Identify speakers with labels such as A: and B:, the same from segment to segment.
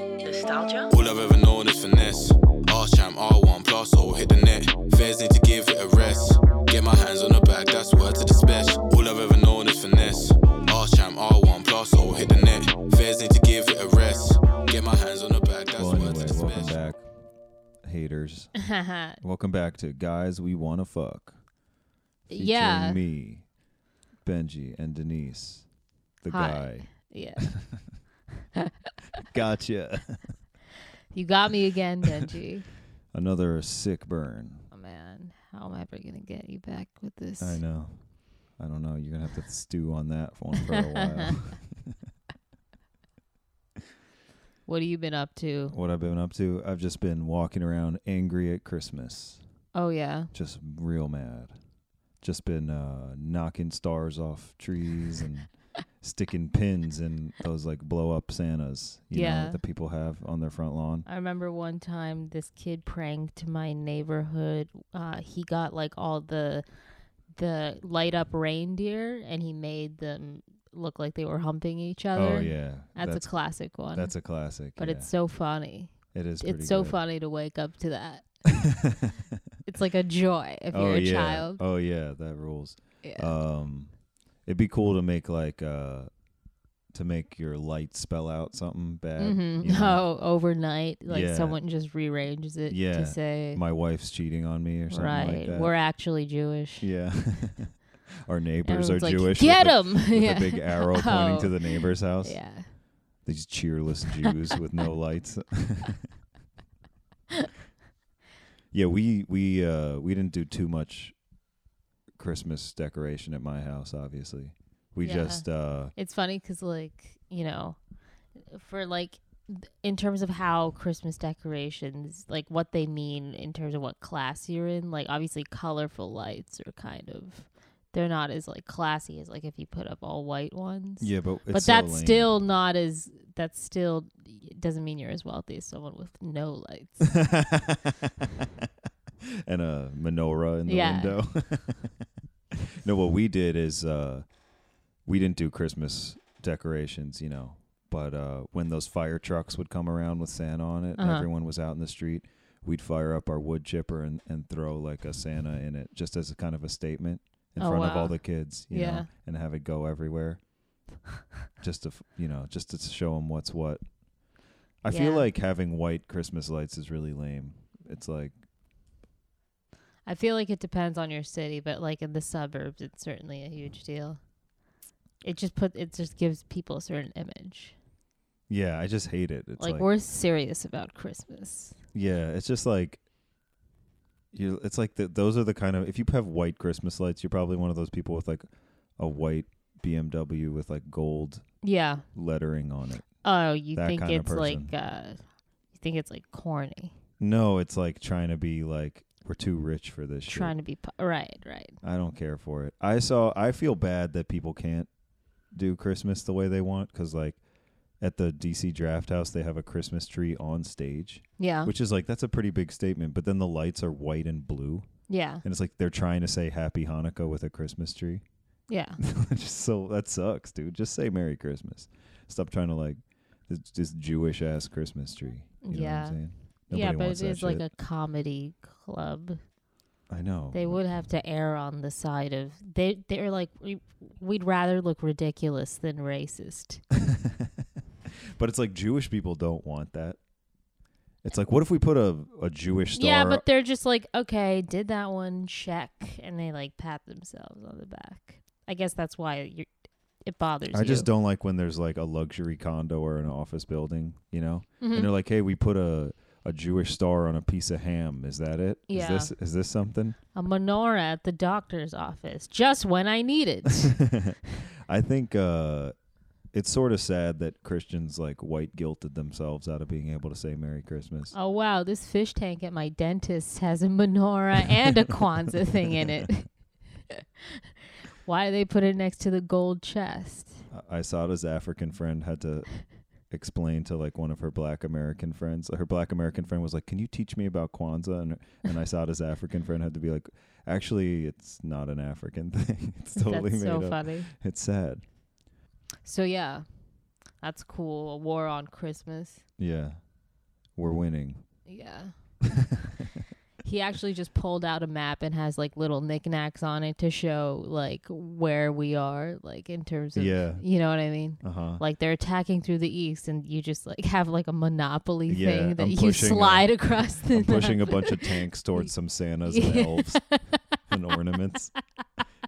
A: nostalgia.
B: All I've ever known is finesse. R champ, R1 plus, or hit the net. Fairs need to give it a rest. Get my hands on the bag, that's word to the special. All I've ever known is finesse. R champ, R1 plus, or hit the net. Fairs need to give it a rest. Get my hands on the bag, that's
C: Well,
B: word
C: anyway,
B: to the
C: welcome
B: special.
C: back, haters. welcome back to Guys We Wanna Fuck. featuring
D: yeah.
C: me, Benji, and Denise, the
D: Hi. Yeah.
C: guy. Gotcha.
D: You got me again, Benji.
C: Another sick burn.
D: oh man. How am I ever gonna get you back with this?
C: I know. I don't know. You're gonna have to stew on that one for a while.
D: What have you been up to?
C: what I've been up to, I've just been walking around angry at Christmas,
D: Oh yeah.
C: just real mad. Just been uh, knocking stars off trees and sticking pins in those like blow up Santas, you know,
D: Yeah.
C: that the people have on their front lawn.
D: I remember one time this kid pranked my neighborhood. Uh, he got like all the the light up reindeer and he made them look like they were humping each other.
C: Oh yeah,
D: That's, a classic one.
C: that's a classic.
D: but
C: yeah.
D: it's so funny.
C: it is pretty
D: It's so
C: good.
D: funny to wake up to that. it's like a joy if
C: oh
D: you're a
C: yeah,
D: child.
C: oh yeah, that rules.
D: Yeah.
C: Um, it'd be cool to make like uh, to make your light spell out something bad.
D: hmm
C: you know?
D: Oh, overnight, like
C: Yeah.
D: someone just rearranges it
C: Yeah.
D: to say,
C: my wife's cheating on me or something
D: Oh, right,
C: like that.
D: we're actually Jewish.
C: yeah. Our neighbors
D: Everyone's
C: are
D: like,
C: Jewish.
D: Get
C: with a-
D: them!
C: with
D: yeah.
C: a big arrow pointing
D: Oh.
C: to the neighbor's house.
D: yeah.
C: These cheerless Jews with no lights. yeah, we we uh we didn't do too much Christmas decoration at my house, obviously. We
D: Yeah.
C: just uh
D: It's funny because, like, you know, for like, th- in terms of how Christmas decorations, like what they mean in terms of what class you're in, like, obviously, colorful lights are kind of, they're not as like classy as like if you put up all white ones.
C: yeah, but
D: but that's still not as that's still doesn't mean you're as wealthy as someone with no lights
C: and a menorah in the
D: Yeah.
C: window. no, what we did is uh, we didn't do Christmas decorations, you know. But uh, when those fire trucks would come around with Santa on it, and
D: Uh-huh.
C: everyone was out in the street. We'd fire up our wood chipper and, and throw like a Santa in it, just as a kind of a statement in
D: Oh,
C: front of all
D: wow.
C: the kids, you
D: Yeah.
C: know, and have it go everywhere, just to f- you know, just to show them what's what. I feel
D: Yeah.
C: like having white Christmas lights is really lame. It's like
D: i feel like it depends on your city but like in the suburbs it's certainly a huge deal it just put it just gives people a certain image
C: Yeah, I just hate it. It's
D: like,
C: like,
D: we're serious about christmas
C: yeah, it's just like you. It's like that. Those are the kind of if you have white Christmas lights, you're probably one of those people with like a white BMW with like gold
D: yeah
C: lettering on it.
D: oh you
C: That
D: think
C: kinda
D: it's like
C: person.
D: uh you think it's like corny
C: No, it's like trying to be like we're too rich for this
D: trying to be po- right right
C: shit. I don't care for it. I saw. I feel bad that people can't do Christmas the way they want because like at the DC Draft House they have a Christmas tree on stage,
D: yeah
C: which is like that's a pretty big statement. But then the lights are white and blue.
D: yeah
C: And it's like they're trying to say Happy Hanukkah with a Christmas tree.
D: yeah
C: Just so that sucks, dude. Just say Merry Christmas. Stop trying to like this, this Jewish ass Christmas tree. You know what
D: Yeah.
C: I'm saying?
D: yeah
C: Nobody
D: but
C: wants
D: it
C: that
D: is like
C: shit.
D: a comedy club
C: I know.
D: They would have to err on the side of they. They're like we, we'd rather look ridiculous than racist.
C: but it's like Jewish people don't want that. It's like what if we put a, a Jewish star
D: Yeah, but they're just like okay, did that one check, and they like pat themselves on the back. I guess that's why you it bothers
C: I
D: you.
C: just don't like when there's like a luxury condo or an office building, you know?
D: Mm-hmm.
C: And
D: Mm.
C: they're like, "Hey, we put a a Jewish star on a piece of ham. Is that it? Is
D: Yeah.
C: this is this something?"
D: a menorah at the doctor's office just when I need it.
C: I think uh, it's sort of sad that Christians like white guilted themselves out of being able to say Merry Christmas.
D: oh wow, this fish tank at my dentist has a menorah and a Kwanzaa thing in it. why do they put it next to the gold chest?
C: I Isada's African friend had to explain to like one of her black American friends. Her black American friend was like, "Can you teach me about Kwanzaa?" And and Isada's African friend had to be like, "Actually, it's not an African thing. It's totally
D: that's
C: made
D: so
C: up.
D: funny.
C: It's sad."
D: So yeah, that's cool. A war on Christmas.
C: Yeah. We're winning.
D: Yeah. he actually just pulled out a map and has like little knickknacks on it to show like where we are, like in terms of,
C: Yeah.
D: you know what I mean?
C: Uh huh.
D: Like they're attacking through the east, and you just like have like a monopoly
C: Yeah,
D: thing that
C: I'm
D: you
C: pushing a-
D: slide across the.
C: I'm pushing a
D: map.
C: bunch of tanks towards some Santas and
D: Yeah.
C: elves and ornaments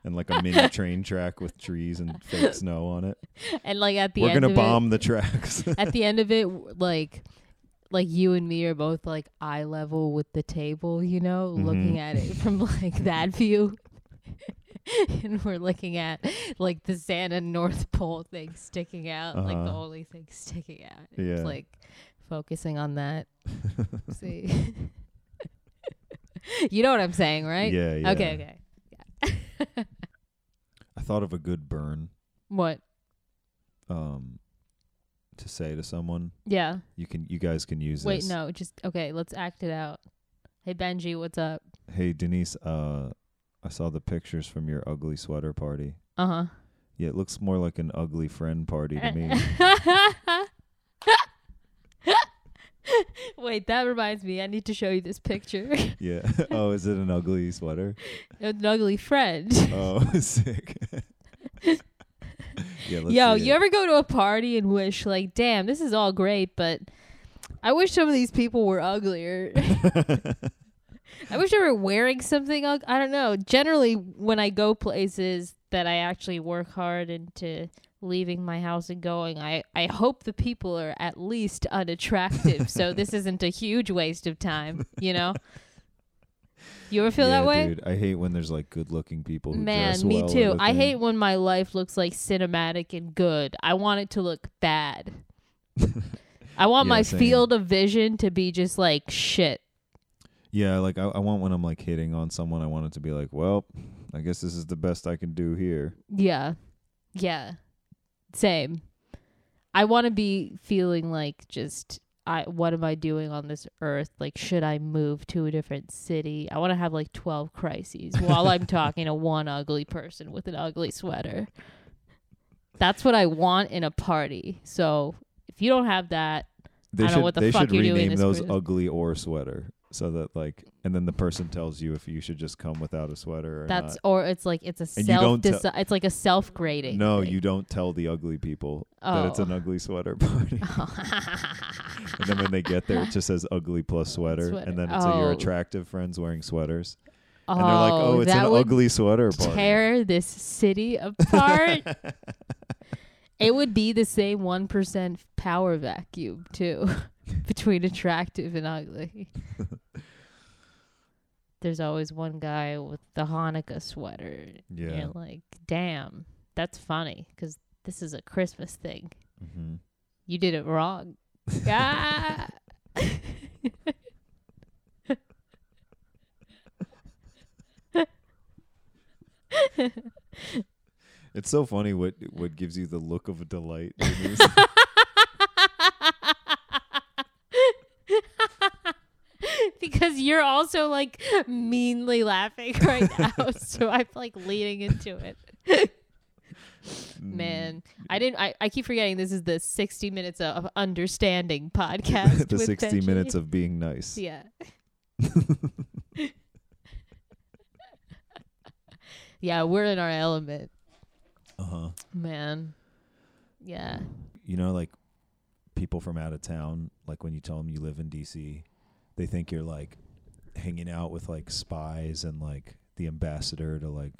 C: and like a mini train track with trees and fake snow on it.
D: and like at the
C: We're
D: end
C: gonna
D: of
C: bomb the tracks.
D: It, at the end of it, w- like. Like you and me are both like eye level with the table, you know, looking
C: Mhm.
D: at it from like that view. and we're looking at like the Santa North Pole thing sticking out, like the
C: Uh-huh.
D: only thing sticking out. It's
C: Yeah.
D: like focusing on that. See. you know what I'm saying, right?
C: Yeah, yeah.
D: Okay, okay.
C: I thought of a good burn
D: What?
C: um, to say to someone.
D: Yeah.
C: You can, you guys can use
D: Wait,
C: this.
D: no, just okay, let's act it out. Hey Benji, what's up?
C: Hey Denise, uh, I saw the pictures from your ugly sweater party.
D: Uh-huh.
C: Yeah, it looks more like an ugly friend party
D: Eh.
C: to me.
D: Wait, that reminds me. I need to show you this picture.
C: yeah. oh, is it an ugly sweater?
D: An ugly friend.
C: Oh, sick. yeah. Let's
D: Yo,
C: see
D: you
C: it.
D: ever go to a party and wish like, damn, this is all great, but I wish some of these people were uglier. I wish they were wearing something. Ug- I don't know. Generally, when I go places that I actually work hard into leaving my house and going, I I hope the people are at least unattractive, so this isn't a huge waste of time. You know. You ever feel
C: yeah,
D: that way?
C: Dude, I hate when there's like good-looking people. Who dress
D: Man, me
C: well at
D: too.
C: a
D: I
C: thing.
D: hate when my life looks like cinematic and good. I want it to look bad. I want
C: Yeah,
D: my
C: same.
D: field of vision to be just like shit.
C: Yeah, like I, I want when I'm like hitting on someone, I want it to be like, well, I guess this is the best I can do here.
D: Yeah. Yeah. Same. I want to be feeling like just I what am I doing on this earth? Like should I move to a different city? I want to have like 12 crises while I'm talking to one ugly person with an ugly sweater. That's what I want in a party. So if you don't have that,
C: They
D: I don't
C: should
D: know what the
C: they
D: fuck
C: should
D: you're doing
C: rename
D: this
C: those
D: cruise.
C: ugly or sweater so that like, and then the person tells you if you should just come without a sweater or
D: that's
C: not.
D: or it's like it's a
C: And you
D: self
C: don't tell-
D: deci- it's like a self grading.
C: No, you don't tell the ugly people that it's
D: Oh.
C: an ugly sweater party. and then when they get there, it just says ugly plus sweater,
D: Sweater.
C: and then it's like your
D: Oh.
C: attractive friends wearing sweaters, and they're like, "Oh, it's
D: that
C: an
D: would
C: ugly sweater party."
D: tear this city apart. it would be the same one percent power vacuum too between attractive and ugly. There's always one guy with the Hanukkah sweater.
C: Yeah.
D: And you're like, damn, that's funny because this is a Christmas thing.
C: Mhm.
D: You did it wrong. ah!
C: It's so funny what what gives you the look of delight. mm, Denise.
D: because you're also like meanly laughing right now, so I'm like leaning into it.
C: Mm,
D: Man, I didn't. I, I keep forgetting this is the 60 minutes of understanding podcast.
C: the
D: with
C: 60
D: Benji.
C: minutes of being nice.
D: Yeah. yeah, we're in our element,
C: Uh-huh.
D: man. Yeah.
C: You know like people from out of town like when you tell them you live in DC, they think you're like hanging out with like spies and like the ambassador to like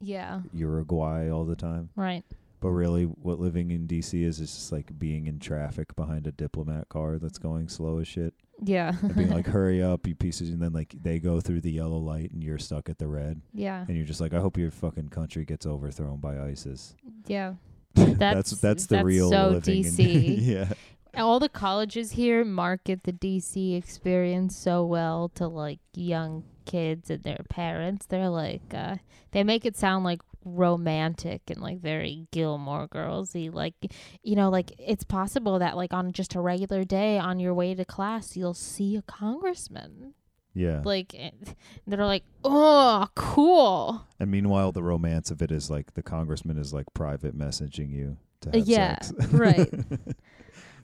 D: Yeah.
C: Uruguay all the time.
D: Right.
C: But really what living in DC is is just like being in traffic behind a diplomat car that's going slow as shit
D: Yeah.
C: and being like hurry up you pieces and then like they go through the yellow light and you're stuck at the red
D: Yeah.
C: and you're just like I hope your fucking country gets overthrown by ISIS.
D: Yeah.
C: that's that's the
D: that's
C: real
D: so
C: living in-
D: DC.
C: yeah.
D: All the colleges here market the DC experience so well to like young kids and their parents. They're like, uh, they make it sound like romantic and like very Gilmore Girlsy. Like, you know, like it's possible that like on just a regular day on your way to class, you'll see a congressman.
C: Yeah.
D: Like, and they're like, oh, cool.
C: and meanwhile, the romance of it is like the congressman is like private messaging you to have
D: Yeah,
C: sex.
D: right.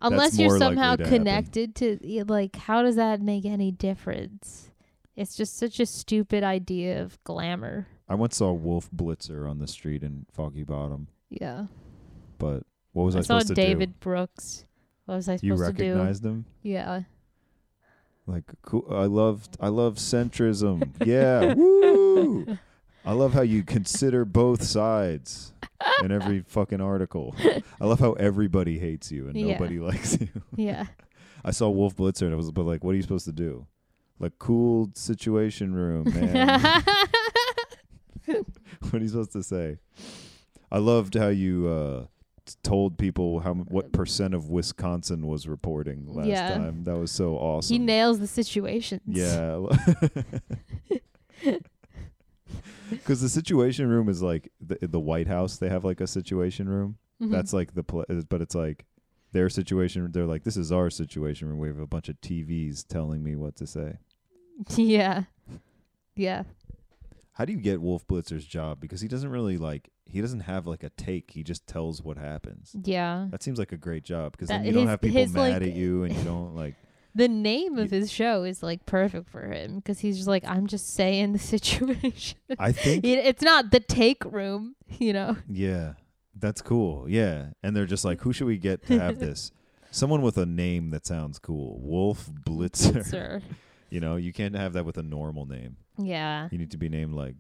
D: Unless you're
C: more likely
D: somehow
C: to happen.
D: connected to yeah, like how does that make any difference? It's just such a stupid idea of glamour.
C: I once saw Wolf Blitzer on the street in Foggy Bottom,
D: Yeah.
C: but what was I,
D: I, saw
C: supposed to
D: David Brooks. What was I
C: do? You
D: supposed to do?
C: recognized him?
D: Yeah.
C: Like cool. I love I love centrism. yeah. Woo. I love how you consider both sides in every fucking article. I love how everybody hates you and
D: Yeah.
C: nobody likes you.
D: Yeah.
C: I saw Wolf Blitzer and I was but like, what are you supposed to do? Like cool situation room, man. what are you supposed to say? I loved how you uh, t- told people how m- what percent of Wisconsin was reporting last
D: Yeah.
C: time. That was so awesome.
D: he nails the situations.
C: Yeah. Because the Situation Room is like the, the White House. They have like a Situation Room.
D: Mhm.
C: That's like the pla uh, but it's like their situation. They're like, this is our Situation Room. We have a bunch of TVs telling me what to say.
D: Yeah. Yeah.
C: How do you get Wolf Blitzer's job? Because he doesn't really like he doesn't have like a take. He just tells what happens.
D: Yeah.
C: That seems like a great job because
D: That-
C: then you don't
D: his-
C: have people
D: his,
C: mad
D: like-
C: at you and you don't like
D: The name of
C: Y-
D: his show is like perfect for him because he's just like, I'm just saying the situation.
C: I think
D: It- it's not the take room, you know?
C: Yeah, that's cool. Yeah, and they're just like, who should we get to have this? Someone with a name that sounds cool, Wolf Blitzer.
D: Sir.
C: You know, you can't have that with a normal name.
D: Yeah.
C: You need to be named like,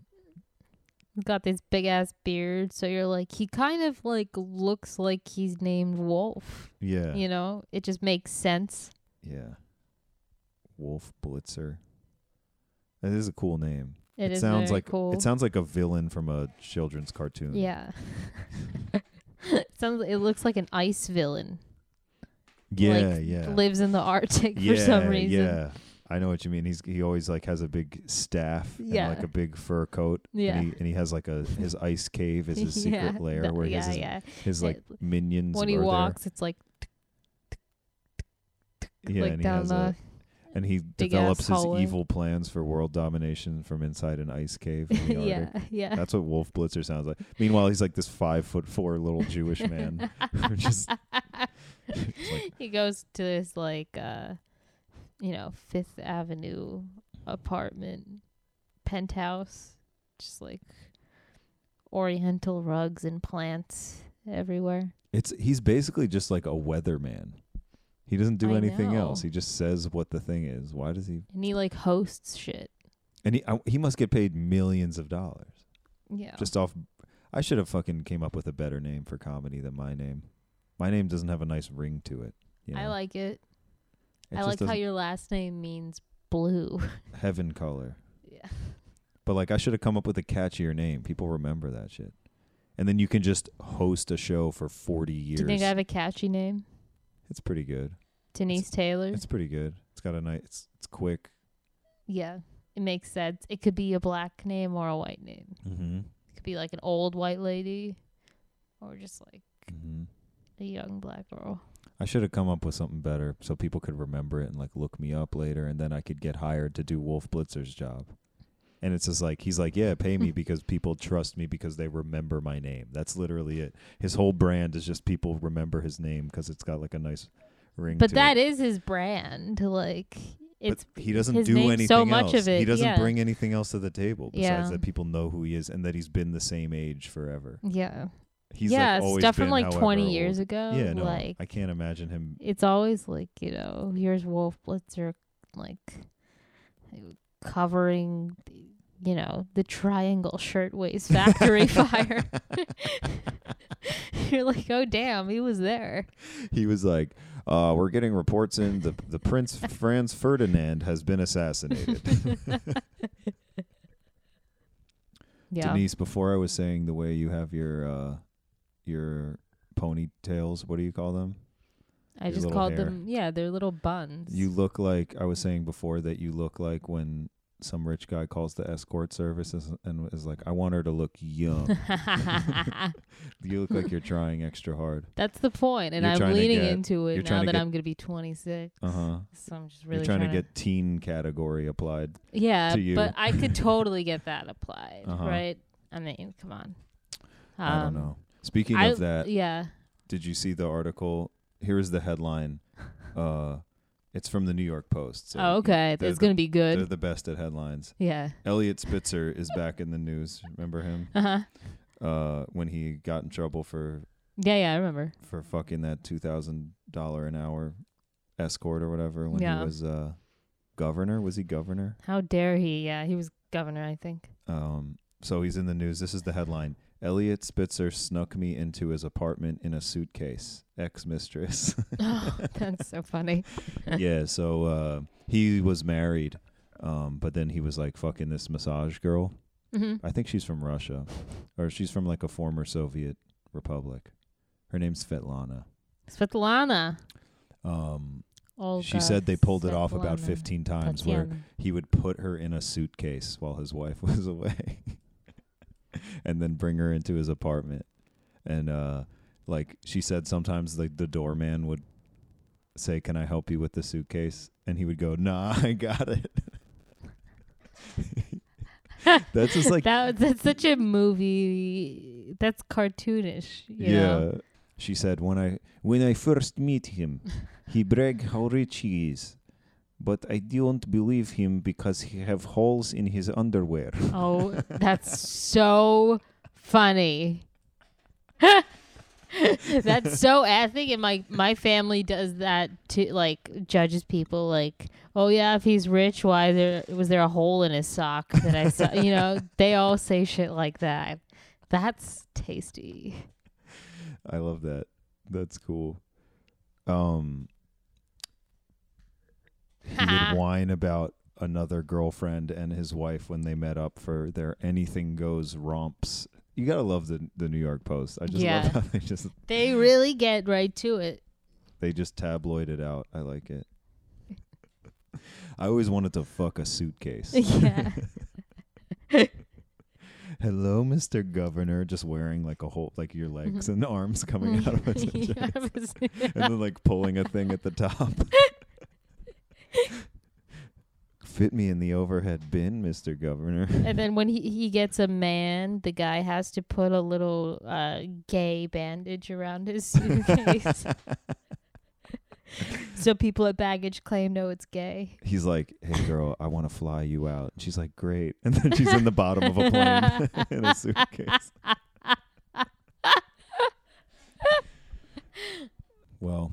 D: He's got this big ass beard. So you're like, he kind of like looks like he's named Wolf,
C: yeah, yeah,
D: you know? It just makes sense.
C: Wolf Blitzer. That is a cool name.
D: it is
C: sounds
D: very
C: like
D: cool.
C: it sounds like a villain from a children's cartoon.
D: yeah. it sounds it looks like an ice villain.
C: yeah,
D: like,
C: yeah.
D: Lives in the Arctic
C: yeah,
D: for some reason.
C: Yeah. I know what you mean. He's he always like has a big staff
D: Yeah.
C: and like a big fur coat.
D: Yeah.
C: And he, and he has like a his ice cave is his secret
D: Yeah,
C: lair
D: the-
C: where
D: yeah,
C: his
D: yeah.
C: his like
D: It-
C: minions
D: when he
C: are there.
D: walks, it's like
C: Yeah,
D: like
C: and he
D: down
C: has
D: the
C: a and he
D: big-ass
C: develops his
D: hallway.
C: evil plans for world domination from inside an ice cave in the
D: yeah,
C: Arctic.
D: yeah.
C: That's what Wolf Blitzer sounds like. Meanwhile, he's like this five foot four little Jewish man. who just, just like,
D: he goes to this like uh you know Fifth Avenue apartment penthouse, just like Oriental rugs and plants everywhere.
C: it's he's basically just like a weatherman. He doesn't do
D: I
C: anything
D: know.
C: else. He just says what the thing is. Why does he?
D: And he like hosts shit.
C: And he I, he must get paid millions of dollars
D: Yeah.
C: just off. I should have fucking came up with a better name for comedy than my name. My name doesn't have a nice ring to it. You know?
D: I like it.
C: It
D: I
C: just
D: like how
C: doesn't-
D: your last name means blue.
C: heaven color.
D: yeah.
C: But like I should have come up with a catchier name. People remember that shit. And then you can just host a show for 40 years.
D: Do you think I have a catchy name?
C: it's pretty good.
D: Denise Taylor.
C: It's pretty good. It's got a nice it's, it's quick.
D: Yeah, it makes sense. It could be a black name or a white name.
C: Mm-hmm.
D: It could be like an old white lady or just like
C: Mm-hmm.
D: a young black girl.
C: I should have come up with something better so people could remember it and like look me up later and then I could get hired to do Wolf Blitzer's job. And it's just like he's like, "Yeah, pay
D: Hmm.
C: me because people trust me because they remember my name." That's literally it. His whole brand is just people remember his name cuz it's got like a nice ring
D: But
C: to it.
D: that is his brand. Like it's
C: but he doesn't
D: his
C: do
D: name-
C: anything
D: so much
C: else.
D: of
C: he
D: it,
C: doesn't
D: yeah.
C: bring anything else to the table besides
D: Yeah.
C: that people know who he is and that he's been the same age forever.
D: yeah,
C: He's
D: yeah,
C: like always
D: stuff
C: been
D: from like
C: however
D: twenty years
C: old.
D: ago.
C: Yeah, no,
D: like
C: I can't imagine him.
D: it's always like you know here's Wolf Blitzer like covering you know the Triangle Shirtwaist Factory fire. You're like, oh damn, he was there.
C: He was like, uh, "We're getting reports in the the Prince Franz Ferdinand has been assassinated."
D: Yeah.
C: Denise, before I was saying the way you have your uh, your ponytails, what do you call them?
D: I
C: your
D: just
C: little
D: called
C: hair.
D: them, yeah, they're little buns.
C: You look like I was saying before that you look like when some rich guy calls the escort services and is like, "I want her to look young." you look like you're trying extra hard.
D: That's the point, and
C: You're
D: I'm
C: trying to
D: leaning
C: get-
D: into
C: you're
D: it
C: trying
D: now
C: to
D: that
C: get-
D: I'm going to be 26.
C: Uh huh.
D: So I'm just really
C: you're trying, to get teen category applied.
D: yeah,
C: to you.
D: but I could totally get that applied,
C: Uh-huh.
D: right? I mean, come on.
C: I don't
D: Um,
C: know. Speaking
D: I-
C: of that,
D: Yeah,
C: did you see the article here is the headline. Uh, it's from the New York Post. So
D: oh, okay.
C: they're
D: It's
C: the-
D: gonna be
C: They're
D: good.
C: the best at headlines.
D: yeah.
C: Elliot Spitzer is back in the news. Remember him?
D: Uh huh.
C: Uh, when he got in trouble for
D: Yeah, yeah. I remember.
C: for fucking that two thousand dollar an hour escort or whatever when
D: Yeah.
C: he was uh governor. Was he governor?
D: How dare he? Yeah, he was governor, I think.
C: Um, so he's in the news. This is the headline: Elliot Spitzer snuck me into his apartment in a suitcase. Ex mistress.
D: oh, that's so funny.
C: yeah. So uh, he was married, um, but then he was like fucking this massage girl.
D: hmm
C: I think she's from Russia, or she's from like a former Soviet republic. Her name's Svetlana.
D: Svetlana.
C: Um,
D: Olga
C: she said they pulled it off about
D: Svetlana
C: 15 times, where
D: Tatiana.
C: he would put her in a suitcase while his wife was away and then bring her into his apartment and uh like she said sometimes like the doorman would say can i help you with the suitcase and he would go nah i got it that's just like
D: that was- that's such a movie. That's cartoonish. you
C: yeah
D: know?
C: she said when i when i first meet him he brag how rich he is but i don't believe him because he have holes in his underwear
D: Oh, that's so funny. that's so I think and my my family does that to like judges people like oh yeah if he's rich why there was there a hole in his sock that I saw you know they all say shit like that that's tasty
C: I love that. That's cool. Um, he would whine about another girlfriend and his wife when they met up for their anything goes romps. You gotta love the the New York Post. I just
D: Yeah.
C: love how they just
D: they really get right to it
C: they just tabloid it out. I like it. I always wanted to fuck a suitcase.
D: yeah
C: Hello, Mr. Governor, just wearing like a whole like your legs and arms coming out of it.
D: Mm-hmm. Yeah, it was-
C: and then like pulling a thing at the top. Fit me in the overhead bin, Mr. Governor.
D: and then when he, he gets a man, the guy has to put a little uh, gay bandage around his suitcase. so people at baggage claim no, it's gay.
C: He's like, "Hey girl, I want to fly you out." And she's like, "Great." And then she's in the bottom of a plane in a suitcase. well,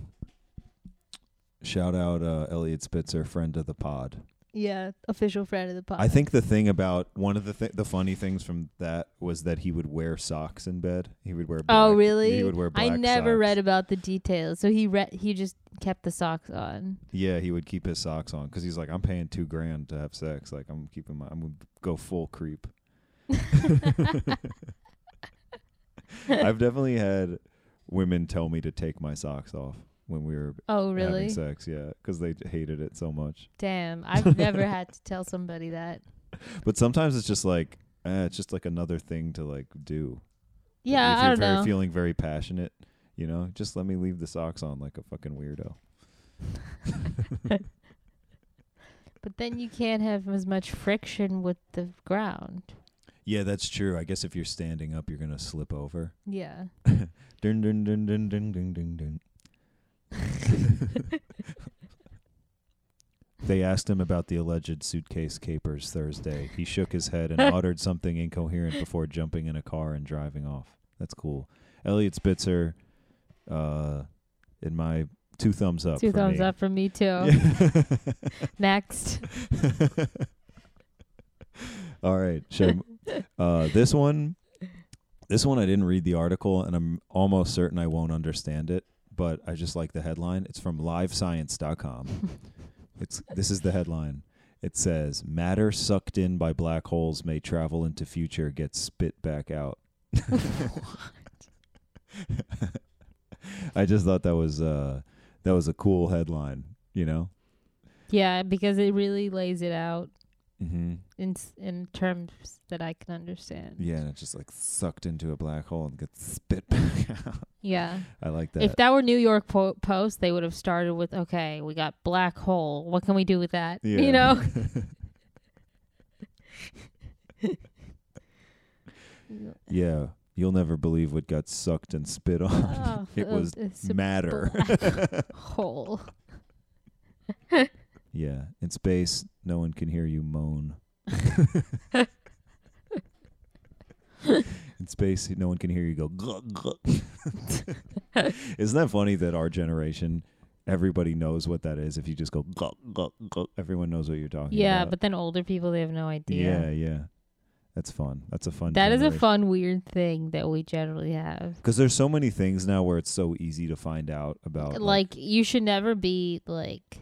C: shout out uh, Elliot Spitzer, friend of the pod.
D: Yeah, official friend of the pod.
C: I think the thing about one of the th- the funny things from that was that he would wear socks in bed. He would wear. Black,
D: Oh really?
C: He would wear. Black
D: I never
C: socks.
D: read about the details. So he re- he just kept the socks on.
C: Yeah, he would keep his socks on because he's like, I'm paying two grand to have sex. Like, I'm keeping my, I'm gonna go full creep. I've definitely had women tell me to take my socks off when we were
D: Oh really?
C: having sex. Yeah, because they hated it so much.
D: Damn, I've never had to tell somebody that.
C: But sometimes it's just like, eh, it's just like another thing to like do. Like,
D: Yeah,
C: if
D: I
C: you're
D: don't
C: very,
D: know.
C: feeling very passionate, you know, just let me leave the socks on like a fucking weirdo.
D: but then you can't have as much friction with the ground.
C: Yeah, that's true. I guess if you're standing up, you're gonna slip over.
D: Yeah.
C: Dun dun dun dun dun dun dun dun. they asked him about the alleged suitcase capers Thursday. He shook his head and uttered something incoherent before jumping in a car and driving off. That's cool. Elliot Spitzer, uh, in my two thumbs up.
D: Two
C: for
D: thumbs
C: me.
D: up for me too.
C: Yeah.
D: Next.
C: All right. So, uh, this one, this one, I didn't read the article, and I'm almost certain I won't understand it. But I just like the headline. It's from LiveScience.com. it's this is the headline. It says matter sucked in by black holes may travel into future, get spit back out. I just thought that was uh, that was a cool headline. You know.
D: Yeah, because it really lays it out
C: Mm-hmm.
D: in s- in terms that I can understand.
C: Yeah, and it's just like sucked into a black hole and gets spit back out.
D: Yeah.
C: I like that.
D: If that were New York po- Post, they would have started with, "Okay, we got black hole. What can we do with that?"
C: Yeah.
D: You know.
C: yeah. You'll never believe what got sucked and spit on.
D: Oh,
C: it
D: oh,
C: was
D: it's a
C: matter.
D: black hole.
C: yeah. In space, no one can hear you moan. In space, no one can hear you go. "Glug, glug." Isn't that funny that our generation, everybody knows what that is? If you just go, glug, glug, glug, everyone knows what you're talking
D: Yeah,
C: about.
D: but then older people they have no
C: yeah,
D: idea.
C: yeah. That's fun. That's a fun.
D: that is a
C: generation.
D: fun weird thing that we generally have.
C: Because there's so many things now where it's so easy to find out about.
D: like you should never be like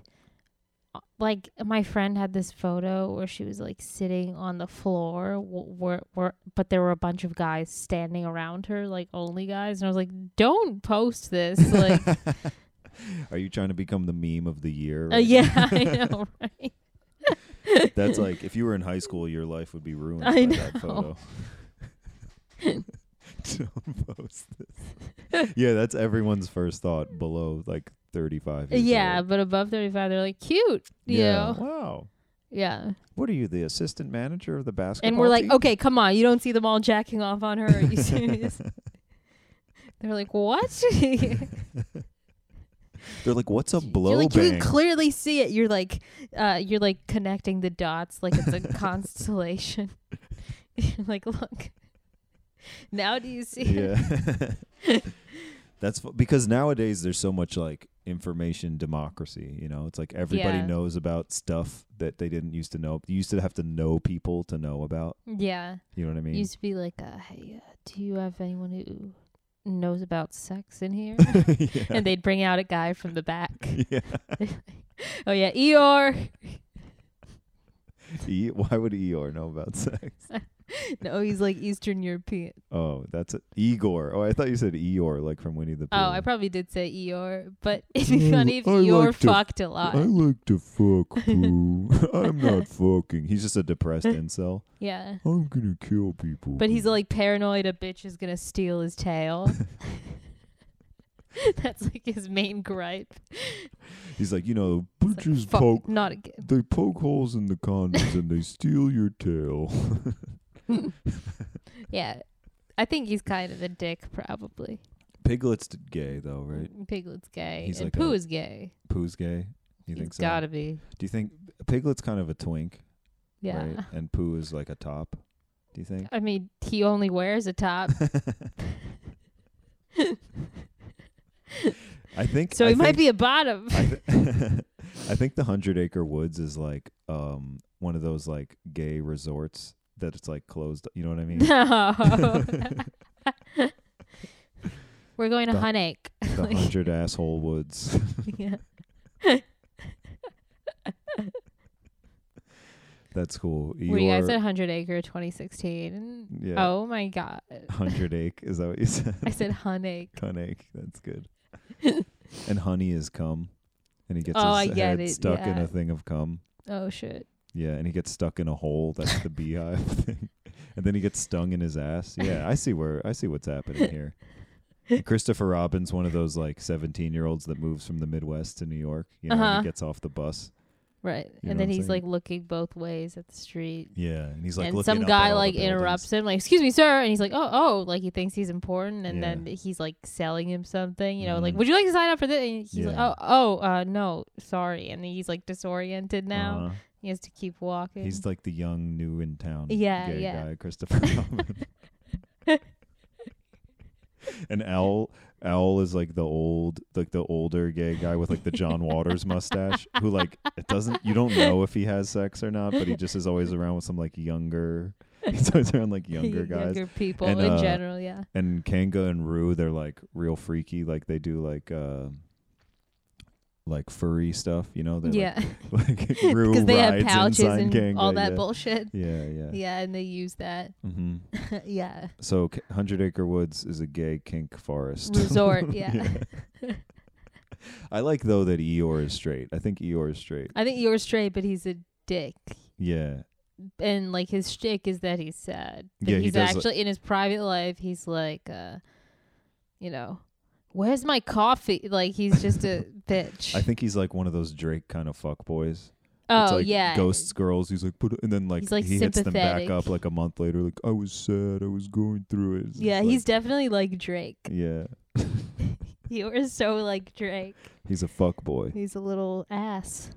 D: uh, like my friend had this photo where she was like sitting on the floor wh- where, where but there were a bunch of guys standing around her like only guys and i was like don't post this like
C: are you trying to become the meme of the year?
D: uh,
C: right
D: yeah i know right
C: now? That's like if you were in high school, your life would be ruined
D: I
C: by that photo.
D: know.
C: Don't post this. yeah, that's everyone's first thought below like 35. Years
D: yeah
C: old.
D: but above 35 they're like cute you
C: Yeah.
D: know
C: Wow.
D: yeah
C: What are you, the assistant manager of the basketball?
D: and we're like
C: team?
D: okay come on you don't see them all jacking off on her are you serious they're like what
C: They're like, what's a blow
D: You're like, you
C: bang?
D: can clearly see it. You're like, uh, you're like connecting the dots like it's a constellation. You're like, look, now do you see? it?
C: yeah that's fu- because nowadays there's so much like information democracy you know it's like everybody
D: Yeah.
C: knows about stuff that they didn't used to know you used to have to know people to know about
D: Yeah,
C: you know what i mean
D: used to be like, uh, hey, uh, do you have anyone who knows about sex in here?
C: yeah.
D: and they'd bring out a guy from the back.
C: yeah.
D: oh yeah, Eeyore.
C: E- why would eeyore know about sex
D: No, he's like Eastern European.
C: oh that's a- igor oh i thought you said eeyore like from winnie the pooh
D: Oh, I probably did say Eeyore, but it'd
C: Mm,
D: be funny if
C: I
D: Eeyore
C: like to-
D: fucked a lot.
C: I like to fuck poo i'm not fucking he's just a depressed incel
D: yeah.
C: i'm gonna kill people
D: But he's like paranoid a bitch is gonna steal his tail. That's like his main gripe.
C: he's like you know
D: It's
C: bitches
D: like, fuck,
C: poke
D: not again.
C: They poke holes in the condoms and they steal your tail.
D: Yeah, I think he's kind of a dick, probably.
C: Piglet's d- gay though, right?
D: Piglet's gay,
C: He's
D: and
C: like
D: Pooh
C: a-
D: is gay.
C: Pooh's gay. You think
D: He's
C: so?
D: gotta be.
C: Do you think Piglet's kind of a twink,
D: Yeah.
C: right? And Pooh is like a top. Do you think?
D: I mean, he only wears a top,
C: I think
D: so
C: I
D: he might
C: think-
D: be a bottom.
C: I, th- I think the Hundred Acre Woods is like um one of those like gay resorts that it's like closed. You know what I mean?
D: no. We're going to
C: The-
D: Hunnic.
C: the Hundred Asshole Woods.
D: yeah.
C: That's cool.
D: Were you guys
C: Eeyore-
D: at 100 Acre 2016?
C: Yeah.
D: Oh my god.
C: Hundred ache. Is that what you said?
D: I said Hunnic.
C: Cunt ache. That's good. and honey is cum, and he gets
D: Oh, I
C: his
D: get
C: head
D: it,
C: stuck in
D: yeah.
C: a thing of cum.
D: Oh shit.
C: Yeah, and he gets stuck in a hole. That's the beehive thing. And then he gets stung in his ass. Yeah, I see where I see what's happening here. And Christopher Robin's one of those like seventeen-year-olds that moves from the Midwest to New York. You know, and
D: Uh-huh.
C: he gets off the bus.
D: Right.
C: You know
D: and
C: what I'm
D: then he's
C: saying?
D: like looking both ways at the street.
C: Yeah, and he's like,
D: and
C: looking
D: some
C: up at
D: guy
C: all the
D: like
C: buildings.
D: interrupts him, like, excuse me, sir. And he's like, oh, oh, like he thinks he's important. And
C: Yeah.
D: then he's like selling him something, you know, like,
C: Mhm.
D: would you like to sign up for this? And he's like,
C: Yeah.
D: oh, oh, uh, no, sorry. And he's like disoriented now.
C: Uh-huh.
D: He has to keep walking.
C: He's like the young, new in town
D: Yeah,
C: gay
D: yeah.
C: guy, Christopher Robin. and Owl Owl is like the old like the older gay guy with like the John Waters mustache who like it doesn't you don't know if he has sex or not, but he just is always around with some like younger he's always around like younger guys.
D: Younger people
C: And,
D: in
C: uh,
D: general, yeah.
C: And Kanga and Rue, they're like real freaky, like they do like uh like furry stuff, you know? They like-
D: Yeah.
C: Like, Rue
D: Because they have
C: rides
D: pouches
C: inside
D: and
C: Kanga,
D: all that
C: yeah.
D: bullshit.
C: Yeah, yeah.
D: Yeah, and they use that.
C: Mm-hmm.
D: yeah.
C: So, K- Hundred Acre Woods is a gay kink forest
D: Resort, yeah.
C: Yeah. I like though that Eeyore is straight. I think Eeyore is straight.
D: I think you're straight, but he's a dick.
C: Yeah,
D: And like his shtick is that he's sad. But
C: Yeah, he
D: he's
C: does, like-
D: actually in his private life he's like uh you know, where's my coffee? Like he's just a bitch.
C: I think he's like one of those Drake kind of fuck boys.
D: Oh
C: it's like
D: yeah.
C: ghosts girls. He's like, put, and then like
D: He's, like,
C: he hits them back
D: sympathetic.
C: up like a month later. Like I was sad, I was going through it. It's
D: Yeah,
C: like-
D: he's definitely like Drake.
C: yeah,
D: You are so like Drake.
C: he's a fuck boy.
D: He's a little ass.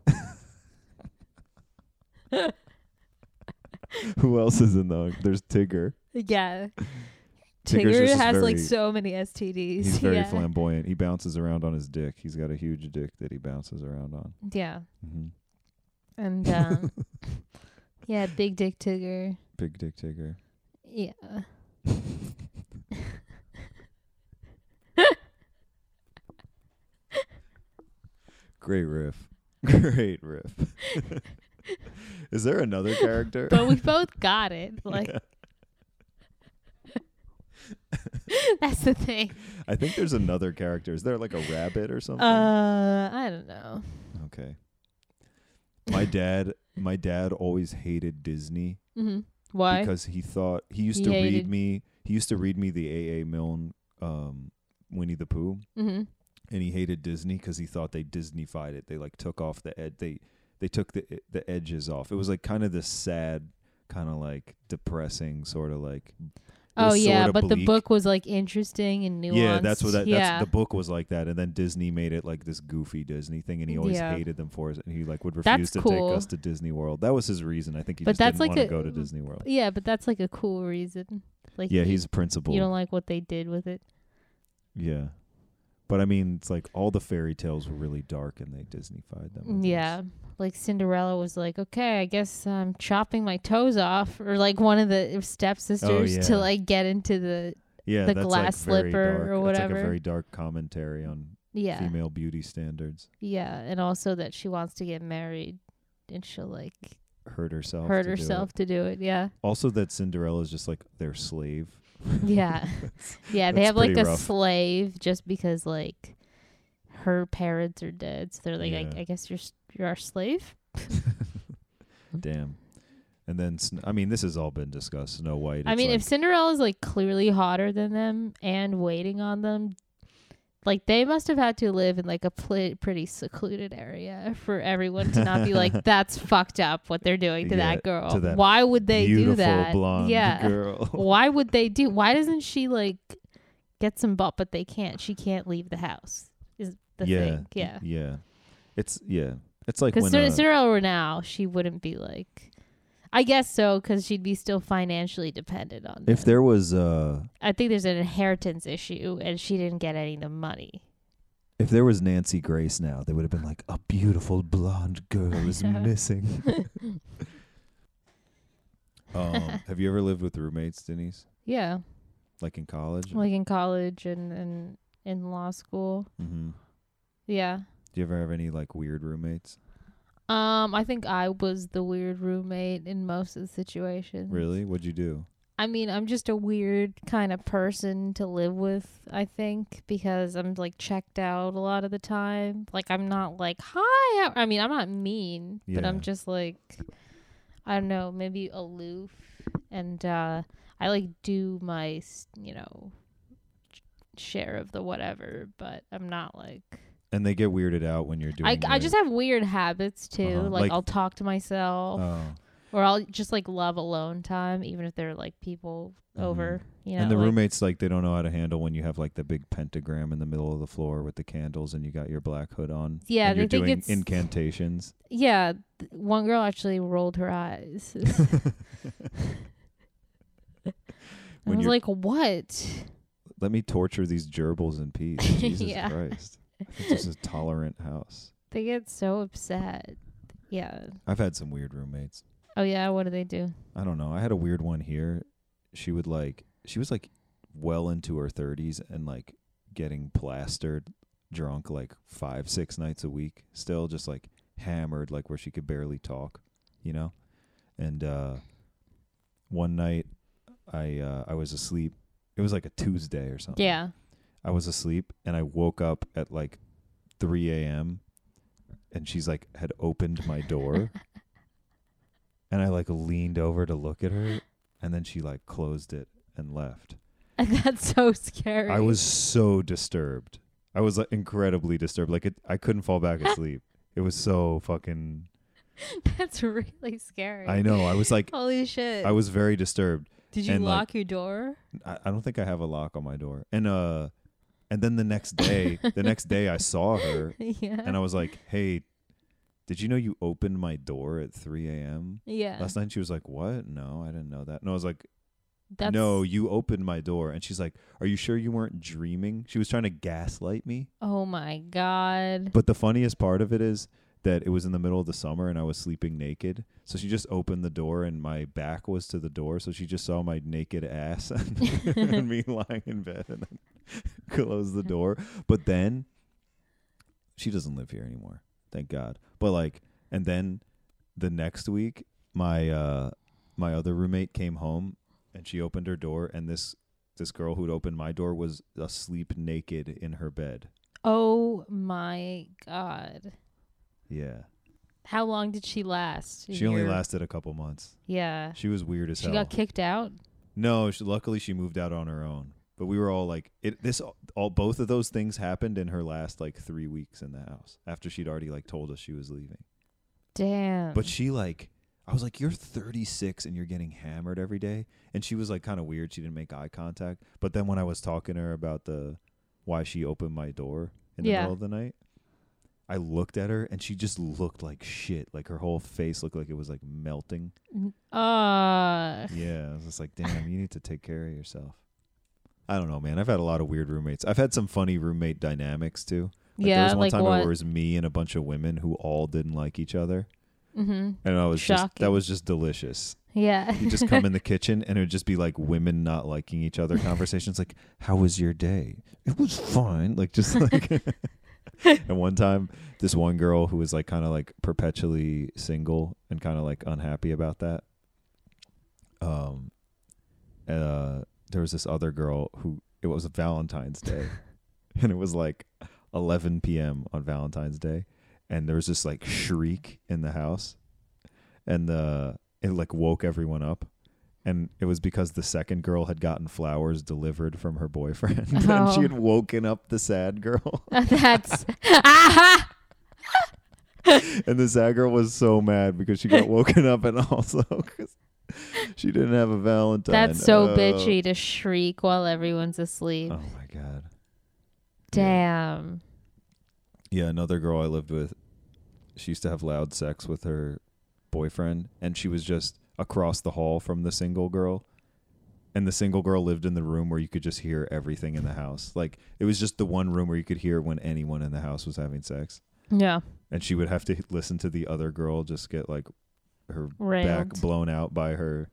C: Who else is in the? There's Tigger.
D: Yeah.
C: Tigger's
D: Tigger
C: just
D: has
C: is
D: like
C: very-
D: so many STDs.
C: He's very
D: yeah.
C: flamboyant. He bounces around on his dick. He's got a huge dick that he bounces around on.
D: Yeah.
C: hmm
D: And um yeah, big dick Tigger.
C: Big dick Tigger.
D: Yeah.
C: Great riff. Great riff. is there another character?
D: But we both got it. Like that's the thing.
C: I think there's another character. Is there like a rabbit or something?
D: Uh I don't know.
C: okay. My dad, my dad always hated Disney
D: Mm-hmm. Why?
C: because he thought he used
D: He
C: to read
D: hated-
C: me. He used to read me the A.A. Milne um, Winnie the Pooh,
D: mm-hmm.
C: and he hated Disney because he thought they Disneyfied it. They like took off the ed- they they took the eh, the edges off. It was like kind of this sad, kind of like depressing sort of like. it
D: Oh
C: was
D: yeah,
C: sorta
D: but the
C: bleak.
D: book was like interesting and nuanced.
C: Yeah, that's what that,
D: yeah.
C: that's the book was like that, and then Disney made it like this goofy Disney thing, and he always
D: Yeah.
C: hated them for it, and he like would
D: That's
C: refuse to
D: cool.
C: take us to Disney World. That was his reason. I think he
D: But
C: just
D: that's
C: didn't
D: like
C: want to
D: a-
C: go to Disney World.
D: yeah, but that's like a cool reason. Like
C: Yeah,
D: you-
C: he's a principal.
D: you don't like what they did with it.
C: yeah, but I mean, it's like all the fairy tales were really dark, and they Disneyfied them. I guess.
D: Yeah. Like Cinderella was like, okay, I guess I'm chopping my toes off, or like one of the uh, stepsisters
C: Oh, yeah.
D: to like get into the
C: yeah,
D: The
C: that's
D: glass
C: like very
D: slipper
C: dark.
D: or
C: That's like
D: whatever.
C: a very dark commentary on
D: yeah,
C: female beauty standards.
D: yeah, and also that she wants to get married, and she'll like
C: Hurt herself.
D: hurt
C: to do it.
D: herself to do it. Yeah,
C: Also, that Cinderella's just like their slave.
D: yeah, yeah. They
C: that's
D: have like
C: pretty
D: a
C: rough.
D: slave just because like her parents are dead, so they're like,
C: Yeah.
D: I, I guess you're s- you're our slave.
C: Damn. And then, Sn- I mean, this has all been discussed. Snow White.
D: I
C: it's
D: mean,
C: like,
D: if Cinderella's like clearly hotter than them and waiting on them, like they must have had to live in like a pl- pretty secluded area for everyone to not be like, that's fucked up what they're doing to
C: Yeah,
D: that girl.
C: to that
D: Why would they
C: beautiful
D: do that?
C: blonde
D: yeah.
C: girl.
D: Why would they do? Why doesn't she like get some butt? But they can't. She can't leave the house. Is the
C: yeah,
D: thing? Yeah.
C: yeah. It's yeah. It's like
D: Because
C: when uh,
D: if Cinderella were now, she wouldn't be like. I guess so, because she'd be still financially dependent on.
C: if
D: them.
C: there was uh
D: I think there's an inheritance issue, and she didn't get any of the money.
C: if there was Nancy Grace now, they would have been like a beautiful blonde girl is
D: Yeah.
C: missing. um, have you ever lived with roommates, Denise?
D: Yeah,
C: Like in college?
D: like in college and and in law school.
C: mm-hmm.
D: Yeah.
C: Do you ever have any like weird roommates?
D: Um, I think I was the weird roommate in most of the situations.
C: Really? What'd you do?
D: I mean, I'm just a weird kind of person to live with, I think, because I'm like checked out a lot of the time. Like, I'm not like, hi. I I mean, I'm not mean, but
C: Yeah.
D: I'm just like, I don't know, maybe aloof. And uh, I like do my, s you know, sh- share of the whatever, but I'm not like.
C: And they get weirded out when you're doing.
D: I, I
C: your-
D: just have weird habits too.
C: Uh-huh.
D: Like,
C: Like-
D: I'll talk to myself
C: Oh.
D: or I'll just like love alone time, even if they're like people over. You know,
C: Mm-hmm. and the
D: like,
C: roommates like they don't know how to handle when you have like the big pentagram in the middle of the floor with the candles and you got your black hood on.
D: Yeah,
C: and you're
D: they think
C: doing
D: it's-
C: incantations.
D: Yeah, th- one girl actually rolled her eyes. I
C: When
D: was
C: you're,
D: like, "What?"
C: let me torture these gerbils in peace. Jesus
D: Yeah.
C: Christ, I think this is a tolerant house.
D: They get so upset. Yeah.
C: I've had some weird roommates.
D: Oh yeah. What do they do?
C: I don't know. I had a weird one here. She would like she was like well into her thirties and like getting plastered drunk like five, six nights a week, still just like hammered, like where she could barely talk, you know? And uh one night I uh I was asleep. It was like a Tuesday or something.
D: Yeah.
C: I was asleep and I woke up at like 3 a.m. and she's like had opened my door. and I like leaned over to look at her and then she like closed it and left.
D: That's so scary.
C: I was so disturbed. I was like incredibly disturbed. Like it, I couldn't fall back asleep. It was so fucking
D: That's really scary.
C: I know. I was like,
D: Holy shit.
C: I was very disturbed.
D: Did you
C: and, like-
D: lock your door?
C: I, I don't think I have a lock on my door. And uh, and then the next day, the next day I saw her,
D: yeah.
C: and I was like, hey, did you know you opened my door at 3 a.m.
D: yeah.
C: Last night she was like, "What? No, I didn't know that." And I was like,
D: That's
C: "No, you opened my door." And she's like, "Are you sure you weren't dreaming?" She was trying to gaslight me.
D: Oh my god.
C: But the funniest part of it is that it was in the middle of the summer and I was sleeping naked. So she just opened the door and my back was to the door, so she just saw my naked ass and, and me lying in bed and then closed the door. But then she doesn't live here anymore. Thank God. But like and then the next week my uh my other roommate came home and she opened her door and this this girl who'd opened my door was asleep naked in her bed.
D: Oh my god.
C: Yeah.
D: How long did she last? A
C: She only
D: year?
C: lasted a couple months.
D: Yeah.
C: She was weird as
D: She
C: hell.
D: got kicked out.
C: no, she, luckily she moved out on her own. But we were all like, it, this all both of those things happened in her last like three weeks in the house after she'd already like told us she was leaving.
D: Damn.
C: But she like, I was like, you're 36 and you're getting hammered every day. And she was like, kind of weird. She didn't make eye contact. But then when I was talking to her about the why she opened my door in the
D: Yeah.
C: middle of the night, I looked at her and she just looked like shit. Like her whole face looked like it was like melting.
D: uh
C: Yeah, I was just like, damn, you need to take care of yourself. I don't know, man. I've had a lot of weird roommates. I've had some funny roommate dynamics too. Like,
D: yeah,
C: there was one
D: like
C: time where
D: what?
C: it was me and a bunch of women who all didn't like each other,
D: mm-hmm.
C: and I was just that
D: Shocking.
C: was just delicious.
D: Yeah.
C: You just come in the kitchen, and it would just be like women not liking each other conversations. Like, how was your day? It was fine. Like, just like. and one time, this one girl who was like kind of like perpetually single and kind of like unhappy about that. Um, uh, there was this other girl who it was Valentine's Day, and it was like 11 p.m. on Valentine's Day, and there was this like shriek in the house, and the it like woke everyone up. And it was because the second girl had gotten flowers delivered from her boyfriend, and
D: Oh.
C: she had woken up the sad girl.
D: That's Ah!
C: And the sad girl was so mad because she got woken up and also 'cause she didn't have a Valentine.
D: That's so
C: Oh.
D: bitchy to shriek while everyone's asleep.
C: Oh my god.
D: Damn.
C: Yeah, another girl I lived with, she used to have loud sex with her boyfriend, and she was just across the hall from the single girl. And the single girl lived in the room where you could just hear everything in the house. Like it was just the one room where you could hear when anyone in the house was having sex.
D: Yeah.
C: And she would have to listen to the other girl just get like her
D: Railed
C: back blown out by her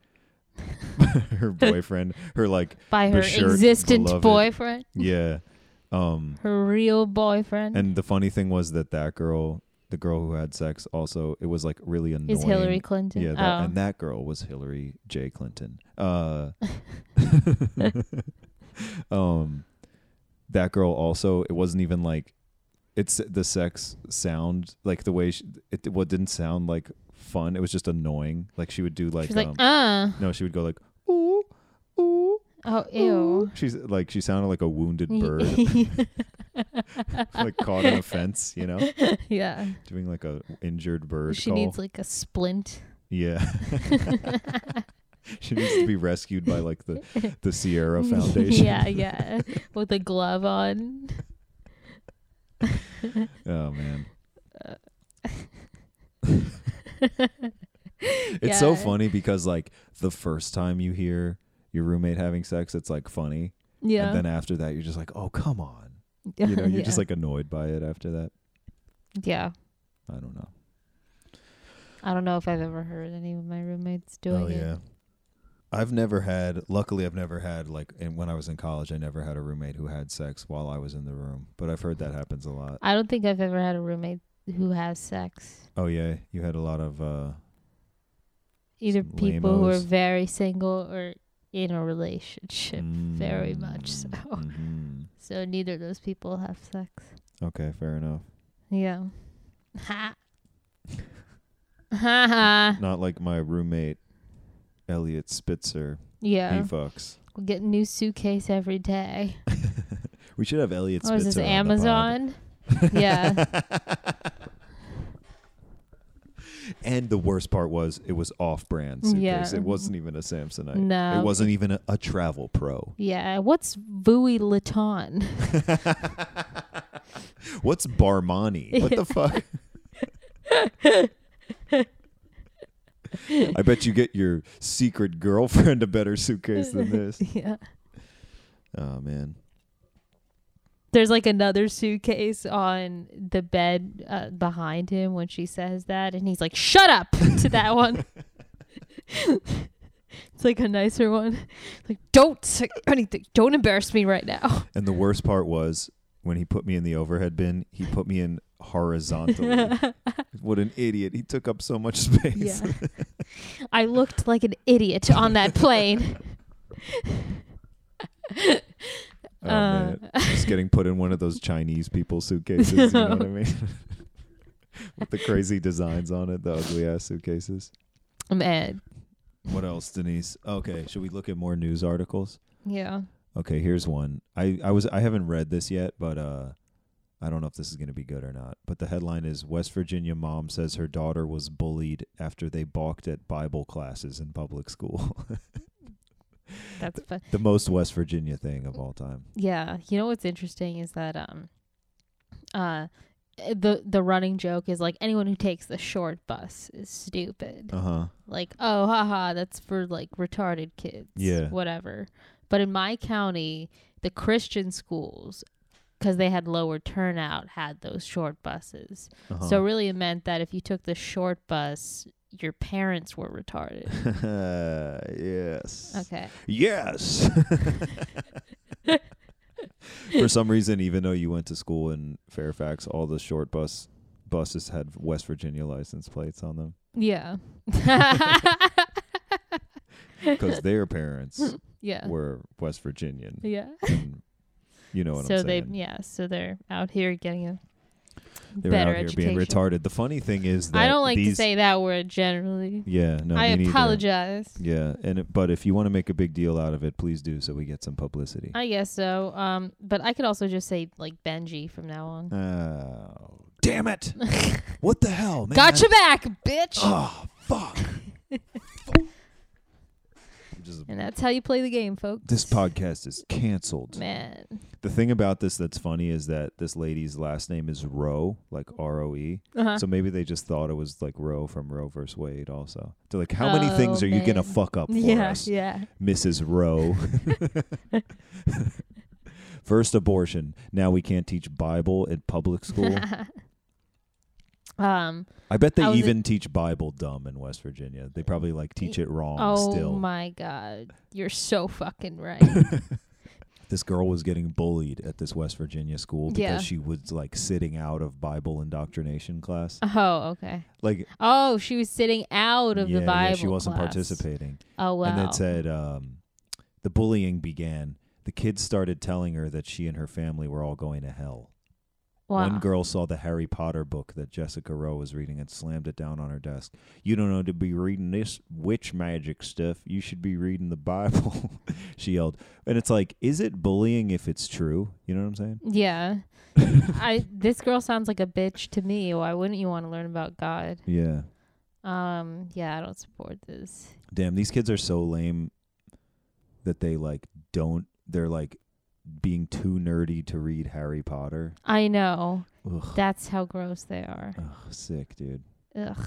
C: her boyfriend her like
D: by her
C: beshirt
D: existent
C: beloved.
D: boyfriend,
C: yeah um
D: her real boyfriend,
C: and the funny thing was that that girl the girl who had sex also it was like really annoying
D: is Hillary Clinton.
C: yeah that,
D: oh.
C: and that girl was Hillary J Clinton uh um that girl also it wasn't even like it's the sex sound like the way she, it what didn't sound like fun it was just annoying like she would do like
D: She's like,
C: um,
D: uh,
C: No, she would go like ooh, ooh.
D: oh,
C: ooh."
D: ew.
C: She's like she sounded like a wounded bird, like caught in a fence, you know,
D: yeah.
C: doing like a injured bird
D: She
C: call.
D: needs like a splint.
C: yeah, she needs to be rescued by like the the Sierra Foundation.
D: yeah, yeah. With a glove on.
C: Oh man,
D: Uh,
C: it's so
D: Yeah.
C: funny because like the first time you hear your roommate having sex, it's like funny,
D: Yeah.
C: and then after that, you're just like, oh come on, you know, you're
D: yeah.
C: just like annoyed by it after that.
D: Yeah.
C: I don't know.
D: I don't know if I've ever heard any of my roommates doing
C: oh
D: it.
C: yeah i've never had luckily i've never had like and when i was in college i never had a roommate who had sex while i was in the room but i've heard that happens a lot
D: I don't think I've ever had a roommate who has sex.
C: oh yeah you had a lot of uh
D: Either
C: Some
D: people who are
C: lamos.
D: very single or in a relationship.
C: Mm.
D: very much so.
C: mhm.
D: So neither of those people have sex.
C: okay fair enough
D: Yeah. Ha. ha ha.
C: not like my roommate elliot spitzer
D: Yeah.
C: he fucks
D: We get new suitcase every day.
C: we should have elliot
D: Or
C: spitzer
D: Oh, is this
C: on the pod.
D: Amazon? yeah.
C: And the worst part was it was off-brand suitcase.
D: Yeah.
C: It wasn't even a Samsonite.
D: No.
C: It wasn't even a, a Travel Pro.
D: Yeah. What's Vuitton? Laton?
C: What's Barmani? What the fuck? I bet you get your secret girlfriend a better suitcase than this.
D: yeah.
C: Oh man.
D: There's like another suitcase on the bed uh, behind him when she says that, and he's like, "Shut up!" to that one. it's like a nicer one. Like, don't say anything. Don't embarrass me right now.
C: And the worst part was when he put me in the overhead bin, he put me in horizontally. what an idiot. He took up so much space.
D: Yeah. I looked like an idiot on that plane.
C: Oh,
D: Uh,
C: man. Just getting put in one of those Chinese people suitcases. You know what I mean? With the crazy designs on it, the ugly ass suitcases.
D: Man.
C: What else, Denise? Okay, should we look at more news articles?
D: Yeah.
C: Okay, here's one. I, I was I haven't read this yet, but uh I don't know if this is gonna be good or not. But the headline is West Virginia mom says her daughter was bullied after they balked at Bible classes in public school.
D: That's fun.
C: the most West Virginia thing of all time.
D: Yeah, you know what's interesting is that um, uh, the the running joke is like anyone who takes the short bus is stupid.
C: Uh huh.
D: Like, oh, haha, that's for like retarded kids.
C: Yeah.
D: whatever. But in my county, the Christian schools, because they had lower turnout, had those short buses.
C: Uh-huh.
D: So really, it meant that if you took the short bus, your parents were retarded.
C: yes.
D: Okay.
C: Yes. For some reason, even though you went to school in Fairfax, all the short bus buses had West Virginia license plates on them
D: Yeah.
C: because their parents
D: yeah.
C: were West Virginian.
D: Yeah.
C: And you know what
D: so
C: I'm
D: they
C: saying?
D: yeah so they're out here getting a
C: they were out
D: better
C: here
D: education
C: being retarded. The funny thing is that
D: i don't like to
C: these-
D: say that word generally
C: Yeah, no,
D: i
C: me neither.
D: apologize
C: Yeah, and it- but if you want to make a big deal out of it, please do so we get some publicity.
D: i guess so um but i could also just say like benji from now on
C: oh, damn it! what the hell, man?
D: got your back bitch
C: Oh, fuck. Just,
D: and that's how you play the game folks
C: this podcast is canceled.
D: man
C: The thing about this that's funny is that this lady's last name is Roe, like R O E.
D: uh-huh.
C: So maybe they just thought it was like Roe from Roe versus Wade. Also, they're like, how many things
D: Oh,
C: are you gonna
D: man.
C: fuck up for
D: yeah
C: us,
D: yeah
C: Mrs. Roe? First abortion. Now we can't teach Bible at public school.
D: um
C: I bet they
D: I was-
C: even teach Bible dumb in West Virginia. They probably like teach it wrong
D: oh
C: still.
D: my god you're so fucking right
C: this girl was getting bullied at this West Virginia school because
D: Yeah.
C: she was like sitting out of Bible indoctrination class.
D: oh okay
C: Like
D: oh she was sitting out of
C: yeah,
D: the
C: yeah,
D: bible
C: she wasn't
D: class.
C: participating.
D: oh wow
C: And it said um, the bullying began. The kids started telling her that she and her family were all going to hell.
D: wow.
C: One girl saw the Harry Potter book that Jessica Rowe was reading and slammed it down on her desk. You don't know to be reading this witch magic stuff. You should be reading the Bible, she yelled. And it's like, is it bullying if it's true? You know what I'm saying?
D: Yeah. I this girl sounds like a bitch to me. Why wouldn't you want to learn about God?
C: Yeah.
D: Um, yeah, I don't support this.
C: Damn, these kids are so lame that they like don't they're like being too nerdy to read Harry Potter.
D: I know.
C: Ugh,
D: That's how gross they are.
C: Ugh sick, dude.
D: Ugh.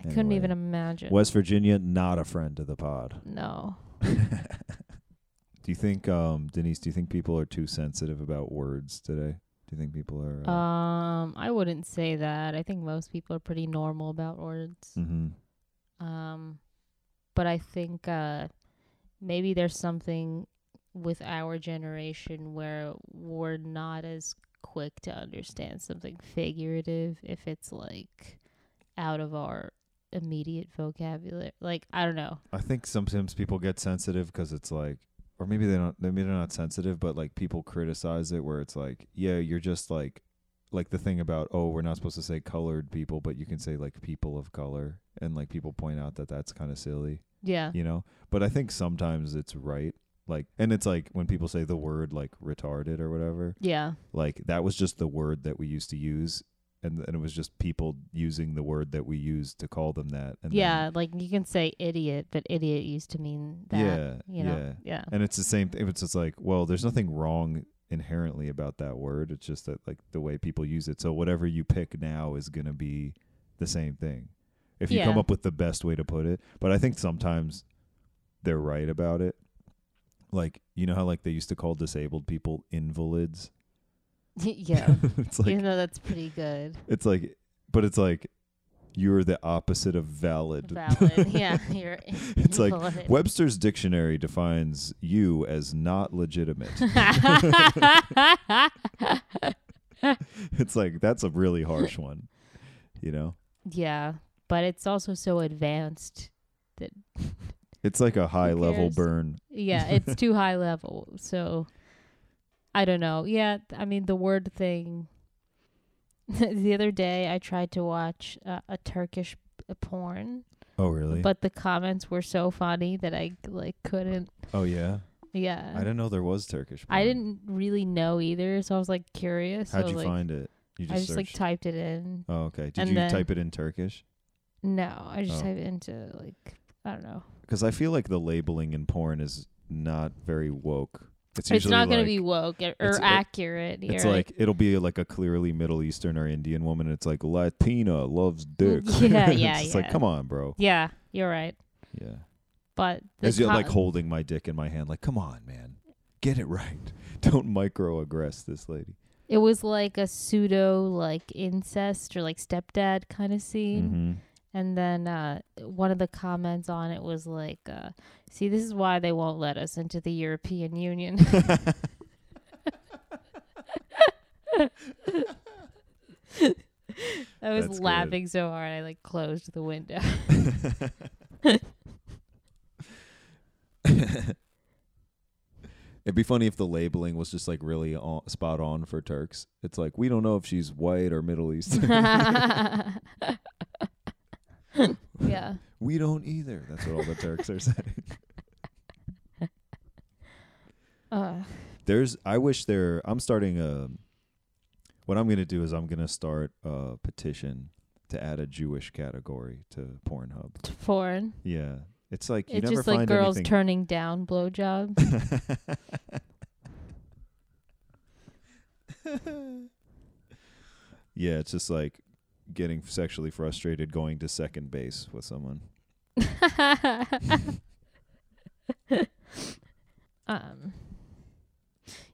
D: I couldn't
C: Anyway.
D: even imagine.
C: West Virginia, not a friend to the pod.
D: No.
C: Do you think, um, Denise? Do you think people are too sensitive about words today? Do you think people are? Uh,
D: Um, I wouldn't say that. I think most people are pretty normal about words.
C: mhm.
D: Um, but I think uh maybe there's something with our generation where we're not as quick to understand something figurative if it's like out of our immediate vocabulary. Like I don't know.
C: I think sometimes people get sensitive 'cause it's like, or maybe they don't. Maybe they're not sensitive, but like people criticize it where it's like, yeah, you're just like, like the thing about oh, we're not supposed to say colored people, but you can say like people of color, and like people point out that that's kind of silly.
D: Yeah.
C: you know but i think sometimes it's right like and it's like when people say the word like retarded or whatever
D: Yeah.
C: like that was just the word that we used to use and and it was just people using the word that we use to call them that. And then-
D: yeah, like you can say idiot, but idiot used to mean that.
C: Yeah,
D: you know? yeah,
C: and it's the same thing. It's just like, well, there's nothing wrong inherently about that word. It's just that like the way people use it. So whatever you pick now is gonna be the same thing. If you come
D: Yeah.
C: up with the best way to put it. But I think sometimes they're right about it. Like you know how like they used to call disabled people invalids?
D: yeah. yeah.
C: it's like
D: Even though that's pretty good,
C: it's like but it's like you're the opposite of valid.
D: valid. yeah, you're.
C: It's like
D: invalid.
C: Webster's dictionary defines you as not legitimate. it's like that's a really harsh one you know
D: yeah, but it's also so advanced.
C: it's like a high level
D: cares?
C: burn
D: Yeah, it's too high level. So I don't know. Yeah, th- I mean the word thing. the other day, I tried to watch uh, a Turkish p- porn,
C: oh really
D: but the comments were so funny that I like couldn't.
C: oh yeah
D: Yeah,
C: i didn't know there was turkish
D: uh, I
C: porn.
D: didn't really know either, so I was like curious.
C: how'd
D: so,
C: you
D: like,
C: find it you just,
D: I just like
C: searched
D: typed it in.
C: oh okay did
D: and
C: you
D: then-
C: type it in turkish
D: No, I just
C: Oh.
D: typed it into like I don't know.
C: because i feel like the labeling in porn is not very woke it's
D: It's
C: usually
D: not
C: like,
D: going to be woke or, or
C: it's- it-
D: accurate.
C: it's
D: you're
C: like it'll be like a clearly Middle Eastern or Indian woman. And it's like Latina loves dick.
D: Yeah,
C: it's
D: yeah,
C: just like
D: yeah.
C: come on, bro.
D: yeah, you're right.
C: Yeah,
D: But the
C: as you're like
D: co-
C: holding my dick in my hand, like come on, man, get it right. Don't microaggress this lady.
D: it was like a pseudo like incest or like stepdad kind of scene.
C: Mm-hmm.
D: And then uh, one of the comments on it was like, uh, "See, this is why they won't let us into the European Union." I was
C: That's good.
D: laughing so hard I like closed the window.
C: It'd be funny if the labeling was just like really on, spot on for Turks. It's like we don't know if she's white or Middle Eastern.
D: yeah.
C: we don't either. That's what all the Turks are saying.
D: Uh,
C: There's I wish there I'm starting a what I'm going to do is I'm going to start a petition to add a Jewish category to Pornhub.
D: t- foreign.
C: Yeah. It's like you
D: it's
C: never
D: just
C: find
D: like girls
C: anything
D: turning down blowjobs.
C: yeah, it's just like getting sexually frustrated going to second base with someone.
D: um,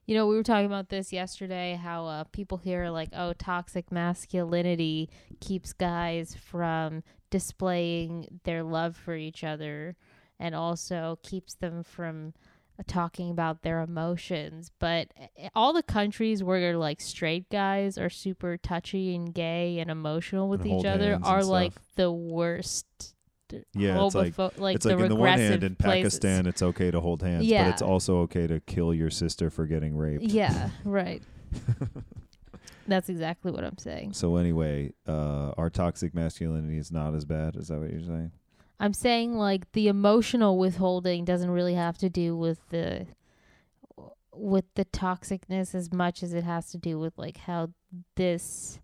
D: you know, we were talking about this yesterday. How uh, people here are like, "Oh, toxic masculinity keeps guys from displaying their love for each other, and also keeps them from uh, talking about their emotions." But uh, all the countries where like straight guys are super touchy and gay and emotional with
C: And
D: each
C: hold
D: other
C: hands and
D: are
C: stuff.
D: like the worst
C: Yeah, it's like
D: homopho- like
C: it's
D: the
C: like in the one hand
D: regressive
C: in
D: places.
C: Pakistan it's okay to hold hands,
D: Yeah.
C: but it's also okay to kill your sister for getting raped.
D: Yeah, right. That's exactly what I'm saying.
C: So anyway, uh, our toxic masculinity is not as bad. Is that what you're saying?
D: I'm saying like the emotional withholding doesn't really have to do with the with the toxicness as much as it has to do with like how this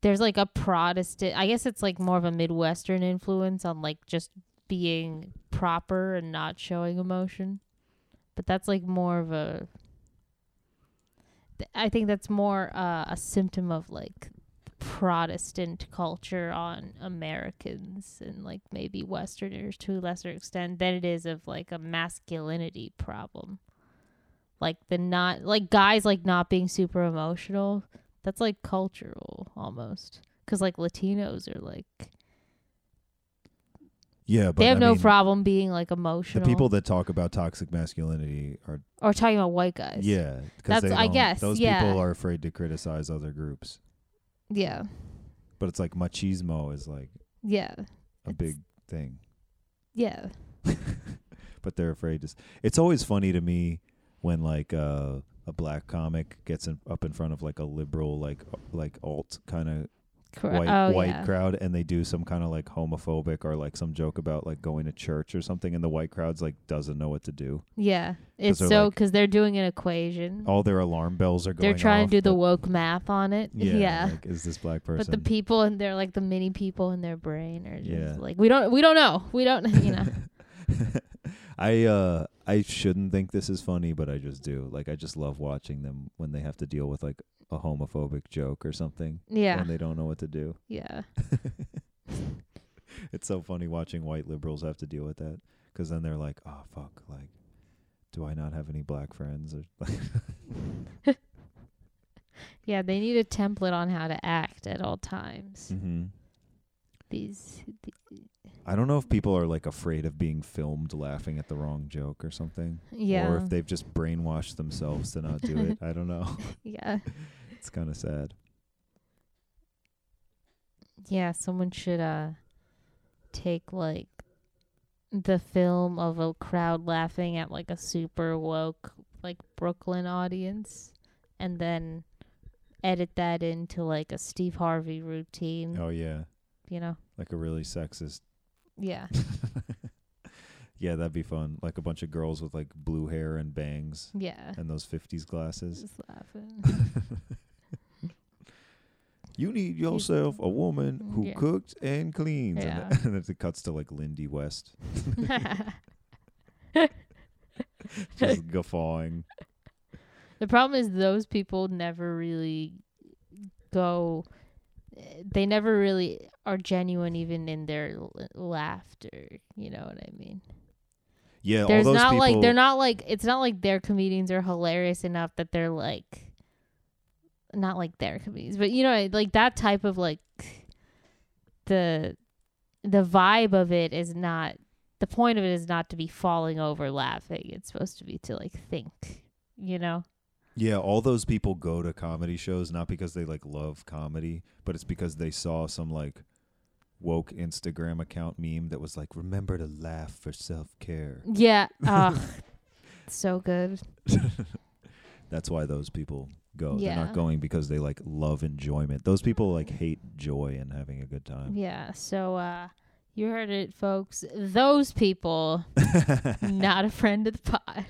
D: there's like a Protestant I guess it's like more of a Midwestern influence on like just being proper and not showing emotion. But that's like more of a th- I think that's more uh, a symptom of like Protestant culture on Americans and like maybe Westerners to a lesser extent than it is of like a masculinity problem. Like the not like guys like not being super emotional. That's like cultural almost because like Latinos are like
C: Yeah, but
D: they have
C: I
D: no
C: mean,
D: problem being like
C: the
D: emotional.
C: people that talk about toxic masculinity are
D: or talking about white guys.
C: yeah, because
D: That's- I guess,
C: those
D: yeah.
C: people are afraid to criticize other groups.
D: yeah,
C: But it's like machismo is like
D: yeah,
C: a
D: It's-
C: big thing.
D: yeah.
C: but they're afraid to. S- it's always funny to me when like uh, a black comic gets in, up in front of like a liberal, like like uh, alt kind of
D: Cor-
C: white
D: oh,
C: white
D: yeah.
C: crowd and they do some kind of like homophobic or like some joke about like going to church or something and the white crowd's like doesn't know what to do.
D: yeah. It's
C: they're
D: so
C: like-
D: because they're doing an equation.
C: All their alarm bells are going
D: they're trying
C: off,
D: to do the
C: but-
D: woke math on it.
C: yeah,
D: Yeah.
C: like is this black person?
D: But the people and they're like the mini people in their brain are just
C: Yeah.
D: like we don't we don't know we don't you know
C: I uh I shouldn't think this is funny, but I just do. Like I just love watching them when they have to deal with like a homophobic joke or something
D: yeah
C: and they don't know what to do.
D: yeah
C: It's so funny watching white liberals have to deal with that because then they're like, "Oh fuck, like do I not have any black friends?" Or
D: yeah they need a template on how to act at all times
C: mm-hmm.
D: these
C: I don't know if people are like afraid of being filmed laughing at the wrong joke or something.
D: yeah
C: Or if they've just brainwashed themselves to not do it. I don't know.
D: yeah
C: It's kind of sad.
D: Yeah, someone should uh take like the film of a crowd laughing at like a super woke like Brooklyn audience and then edit that into like a Steve Harvey routine,
C: Oh yeah.
D: you know.
C: Like a really sexist
D: Yeah.
C: yeah, that'd be fun. Like a bunch of girls with like blue hair and bangs
D: Yeah.
C: and those 50s glasses.
D: Just laughing.
C: You need yourself a woman who
D: Yeah.
C: cooks and cleans.
D: Yeah.
C: And, then, and it cuts to like Lindy West just guffawing.
D: the problem is those people never really go eh, they never really are genuine even in their l- laughter, you know what I mean?
C: Yeah,
D: There's
C: all those
D: not
C: people.
D: like they're not like it's not like their comedians are hilarious enough that they're like not like their comedians, but you know like that type of like the the vibe of it is not the point of it is not to be falling over laughing. It's supposed to be to like think, you know.
C: yeah, all those people go to comedy shows not because they like love comedy, but it's because they saw some like woke Instagram account meme that was like, "Remember to laugh for self care."
D: Yeah. Ugh. so good.
C: That's why those people go. They're
D: Yeah. Mm-hmm.
C: not going because they like love enjoyment. Those people like hate joy and having a good time.
D: Yeah. So uh you heard it folks. Those people not a friend of the pod.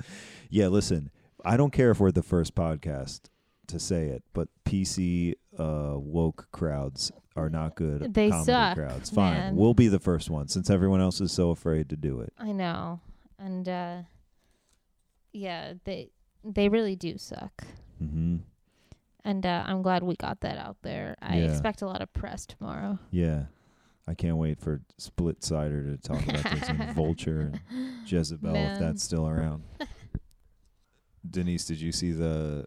D: Mm-hmm.
C: Yeah, listen, I don't care if we're the first podcast to say it, but PC uh, woke crowds are not good
D: They
C: comedy
D: suck,
C: crowds. Fine.
D: man.
C: We'll be the first one since everyone else is so afraid to do it.
D: I know. And uh yeah, they they really do suck.
C: Mhm.
D: And uh I'm glad we got that out there. I
C: Yeah.
D: expect a lot of press tomorrow.
C: Yeah. I can't wait for Split Sider to talk about this and Vulture and Jezebel if
D: Man.
C: that's still around. Denise, did you see the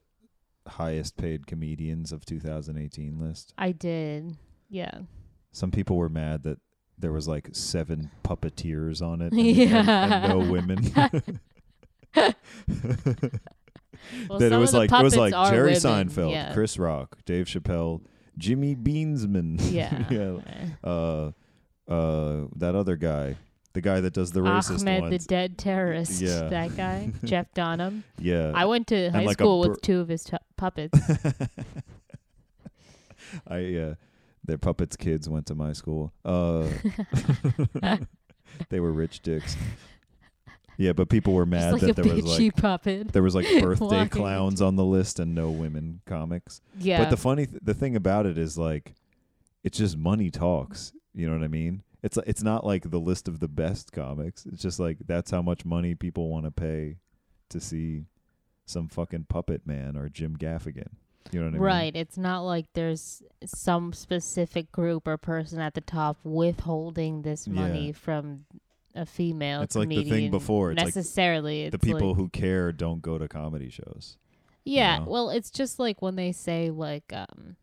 C: highest paid comedians of 2018 list?
D: I did. Yeah.
C: Some people were mad that there was like seven puppeteers on it and, and-
D: Yeah.
C: and no women.
D: Well,
C: that it
D: some
C: was
D: of the
C: like it was
D: puppets
C: like
D: are
C: Jerry
D: women.
C: Seinfeld,
D: Yeah.
C: Chris Rock, Dave Chappelle, Jimmy Beansman.
D: yeah.
C: yeah. Uh uh that other guy, the guy that does the racist
D: Ahmed
C: ones.
D: the dead terrorist.
C: Yeah.
D: That guy, Jeff Donham.
C: yeah.
D: I went to high
C: like a
D: school
C: bur-
D: with two of his tu puppets.
C: I uh their puppets kids went to my school. Uh they were rich dicks. Yeah, but people were mad
D: Just like
C: that
D: a
C: there was
D: bitchy
C: like
D: puppet.
C: there was like birthday
D: Why?
C: clowns on the list and no women comics.
D: Yeah.
C: But the funny th- the thing about it is like it's just money talks, you know what I mean? It's it's not like the list of the best comics. It's just like that's how much money people want to pay to see some fucking puppet man or Jim Gaffigan. You know what I mean?
D: Right. It's not like there's some specific group or person at the top withholding this
C: Yeah.
D: money from a female.
C: It's like the thing
D: comedian
C: before, it's like
D: necessarily,
C: the
D: it's
C: people
D: like-
C: who care don't go to comedy shows.
D: Yeah.
C: know?
D: Well, it's just like when they say like um,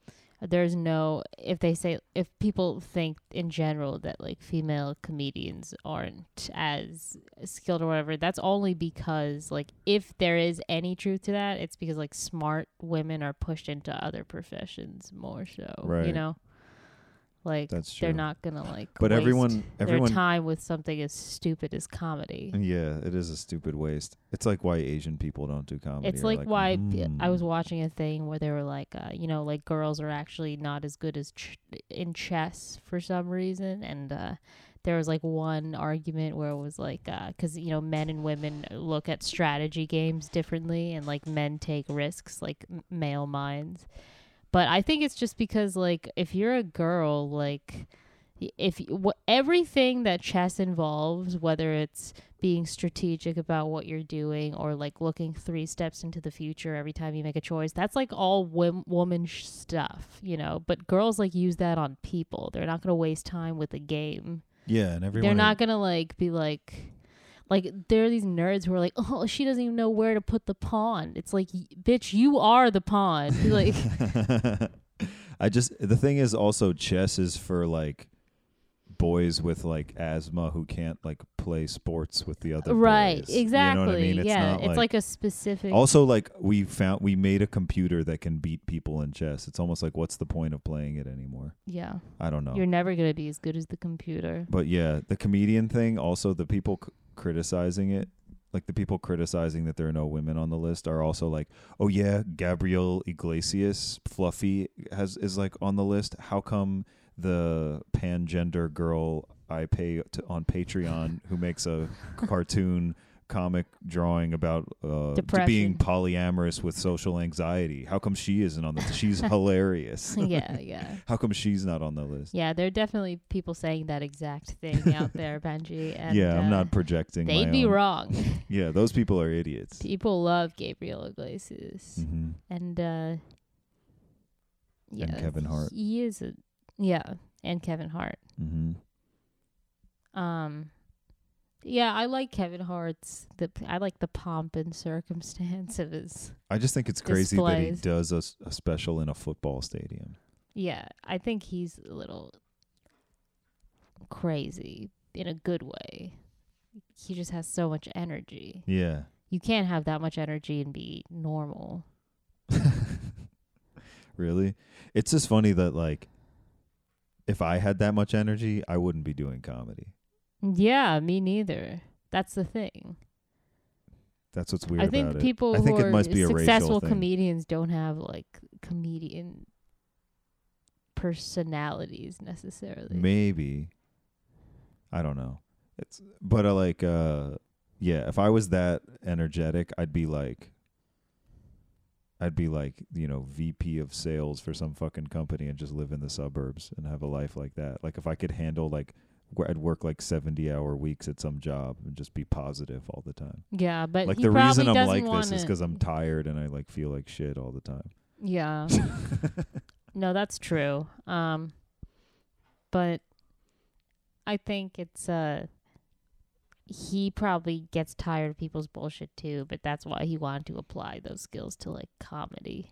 D: there's no if they say if people think in general that like female comedians aren't as skilled or whatever, that's only because like if there is any truth to that, it's because like smart women are pushed into other professions more so. You
C: Right.
D: know. Like
C: That's
D: they're
C: true.
D: not gonna like.
C: But
D: waste
C: everyone, everyone,
D: their time with something as stupid as comedy.
C: yeah, it is a stupid waste. It's like why Asian people don't do comedy.
D: It's
C: or,
D: like, why p I I
C: mm.
D: was watching a thing where they were like, uh, you know, like girls are actually not as good as ch- in chess for some reason, and uh, there was like one argument where it was like, because you know, men and women look at strategy games differently, and like men take risks, like m- male minds. But I think it's just because like if you're a girl, like y- if y- wh- everything that chess involves, whether it's being strategic about what you're doing or like looking three steps into the future every time you make a choice that's like all wom- woman sh- stuff you know but girls like use that on people they're not gonna waste time with a game
C: Yeah, and everyone.
D: they're not gonna like be like like there are these nerds who are like oh she doesn't even know where to put the pawn it's like y- bitch you are the pawn like
C: I just the thing is also chess is for like boys with like asthma who can't like play sports with the other
D: right
C: boys.
D: exactly
C: You know what I mean? It's
D: yeah
C: not
D: it's like a specific
C: also like we found we made a computer that can beat people in chess. It's almost like what's the point of playing it anymore?
D: yeah
C: I don't know.
D: you're never gonna be as good as the computer
C: But yeah, the comedian thing, also the people c- criticizing it, like the people criticizing that there are no women on the list are also like, "Oh yeah, Gabriel Iglesias, fluffy has is like on the list. How come the pangender girl I pay to, on Patreon who makes a cartoon comic drawing about uh,
D: Depression.
C: being polyamorous with social anxiety? How come she isn't on the She's hilarious.
D: yeah yeah
C: How come she's not on the list?
D: Yeah, there are definitely people saying that exact thing out there, Benji. And,
C: yeah, I'm
D: uh,
C: not projecting.
D: They'd
C: my
D: be
C: own-
D: wrong.
C: Yeah, those people are idiots.
D: people love Gabriel Iglesias,
C: hmm
D: and uh, yeah,
C: Kevin Hart.
D: He is a yeah, and Kevin Hart.
C: hmm
D: Um, yeah, I like Kevin Hart's. The I like the pomp and circumstance of his.
C: I just think it's crazy that he
D: Displays.
C: does a, s- a special in a football stadium.
D: Yeah, I think he's a little crazy in a good way. He just has so much energy.
C: Yeah.
D: you can't have that much energy and be normal.
C: really? It's just funny that like if I had that much energy, I wouldn't be doing comedy.
D: Yeah, me neither. That's the thing.
C: That's what's weird
D: I think
C: about
D: people
C: I think
D: who
C: it
D: are
C: must be a racial
D: successful
C: thing.
D: comedians don't have like comedian personalities necessarily.
C: it. Maybe. I don't know. It's but uh, like uh yeah, if I was that energetic, I'd be like I'd be like, you know, VP of sales for some fucking company and just live in the suburbs and have a life like that. Like if I could handle like where I'd work like 70 hour weeks at some job and just be positive all the time.
D: yeah, but
C: like
D: Uh, he
C: the
D: probably
C: reason I'm
D: doesn't
C: like
D: wanna,
C: this is cuz I'm tired and I like feel like shit all the time.
D: Yeah. Oh. no, that's true. Um but I think it's uh he probably gets tired of people's bullshit too, but that's why he wanted to apply those skills to like comedy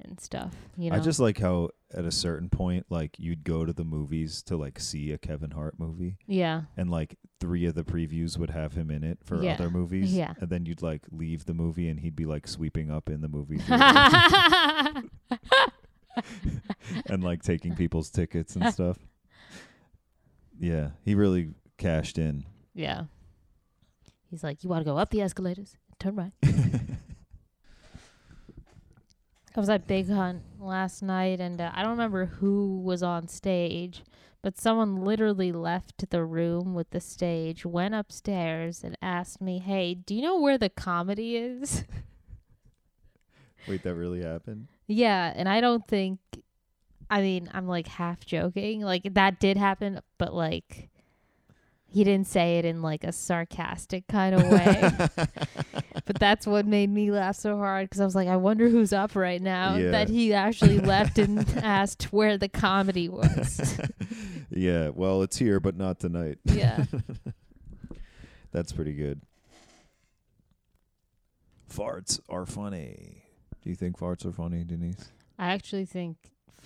D: and stuff, you know.
C: I just like how at a certain point like you'd go to the movies to like see a Kevin Hart movie
D: yeah.
C: and like three of the previews would have him in it for
D: Yeah.
C: other movies.
D: Yeah.
C: And then you'd like leave the movie and he'd be like sweeping up in the movie theater
D: yeah,
C: and like taking people's tickets and stuff. Yeah. He really cashed in.
D: he's like, you want to go up the escalators, turn right. I was at Big Hunt last night, and uh, I don't remember who was on stage, but someone literally left the room with the stage, went upstairs, and asked me, "Hey, do you know where the comedy is?"
C: Wait, that really happened?
D: yeah, and I don't think. I mean, I'm like half joking. Like that did happen, but like he didn't say it in like a sarcastic kind of way. but that's what made me laugh so hard because I was like, I wonder who's up right now
C: Yeah.
D: that he actually left and asked where the comedy was.
C: yeah. Well, it's here, but not tonight.
D: yeah.
C: That's pretty good. Farts are funny. Do you think farts are funny, Denise?
D: I actually think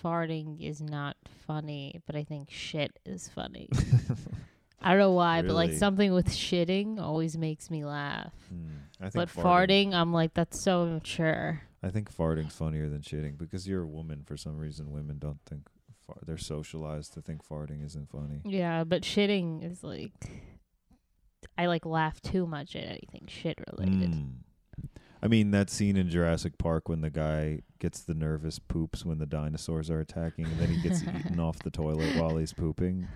D: farting is not funny, but I think shit is funny.
C: Hmm.
D: I don't know why, but like
C: Really?
D: something with shitting always makes me laugh.
C: I think
D: But farting, I'm like, that's so immature.
C: I think farting's funnier than shitting because you're a woman. For some reason, women don't think far- they're socialized to think farting isn't funny.
D: Yeah, but shitting is like I like laugh too much at anything shit related.
C: Mm. I mean, that scene in Jurassic Park when the guy gets the nervous poops when the dinosaurs are attacking, and then he gets eaten off the toilet while he's pooping.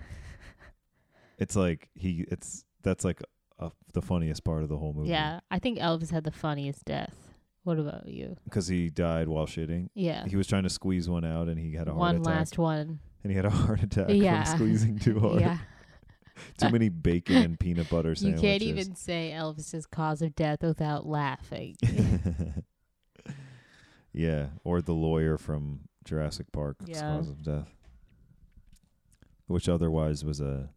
C: It's like he, it's that's like a, the funniest part of the whole movie.
D: Yeah, I think Elvis had the funniest death. What about you?
C: because he died while shitting.
D: Yeah,
C: He was trying to squeeze one out, and he had a heart
D: one
C: attack.
D: last one.
C: and he had a heart attack
D: Yeah.
C: from squeezing too hard.
D: Yeah,
C: Too many bacon and peanut butter
D: Uh, you
C: sandwiches.
D: can't even say Elvis's cause of death without laughing.
C: yeah, or the lawyer from Jurassic Park,
D: Yeah.
C: cause of death, which otherwise was a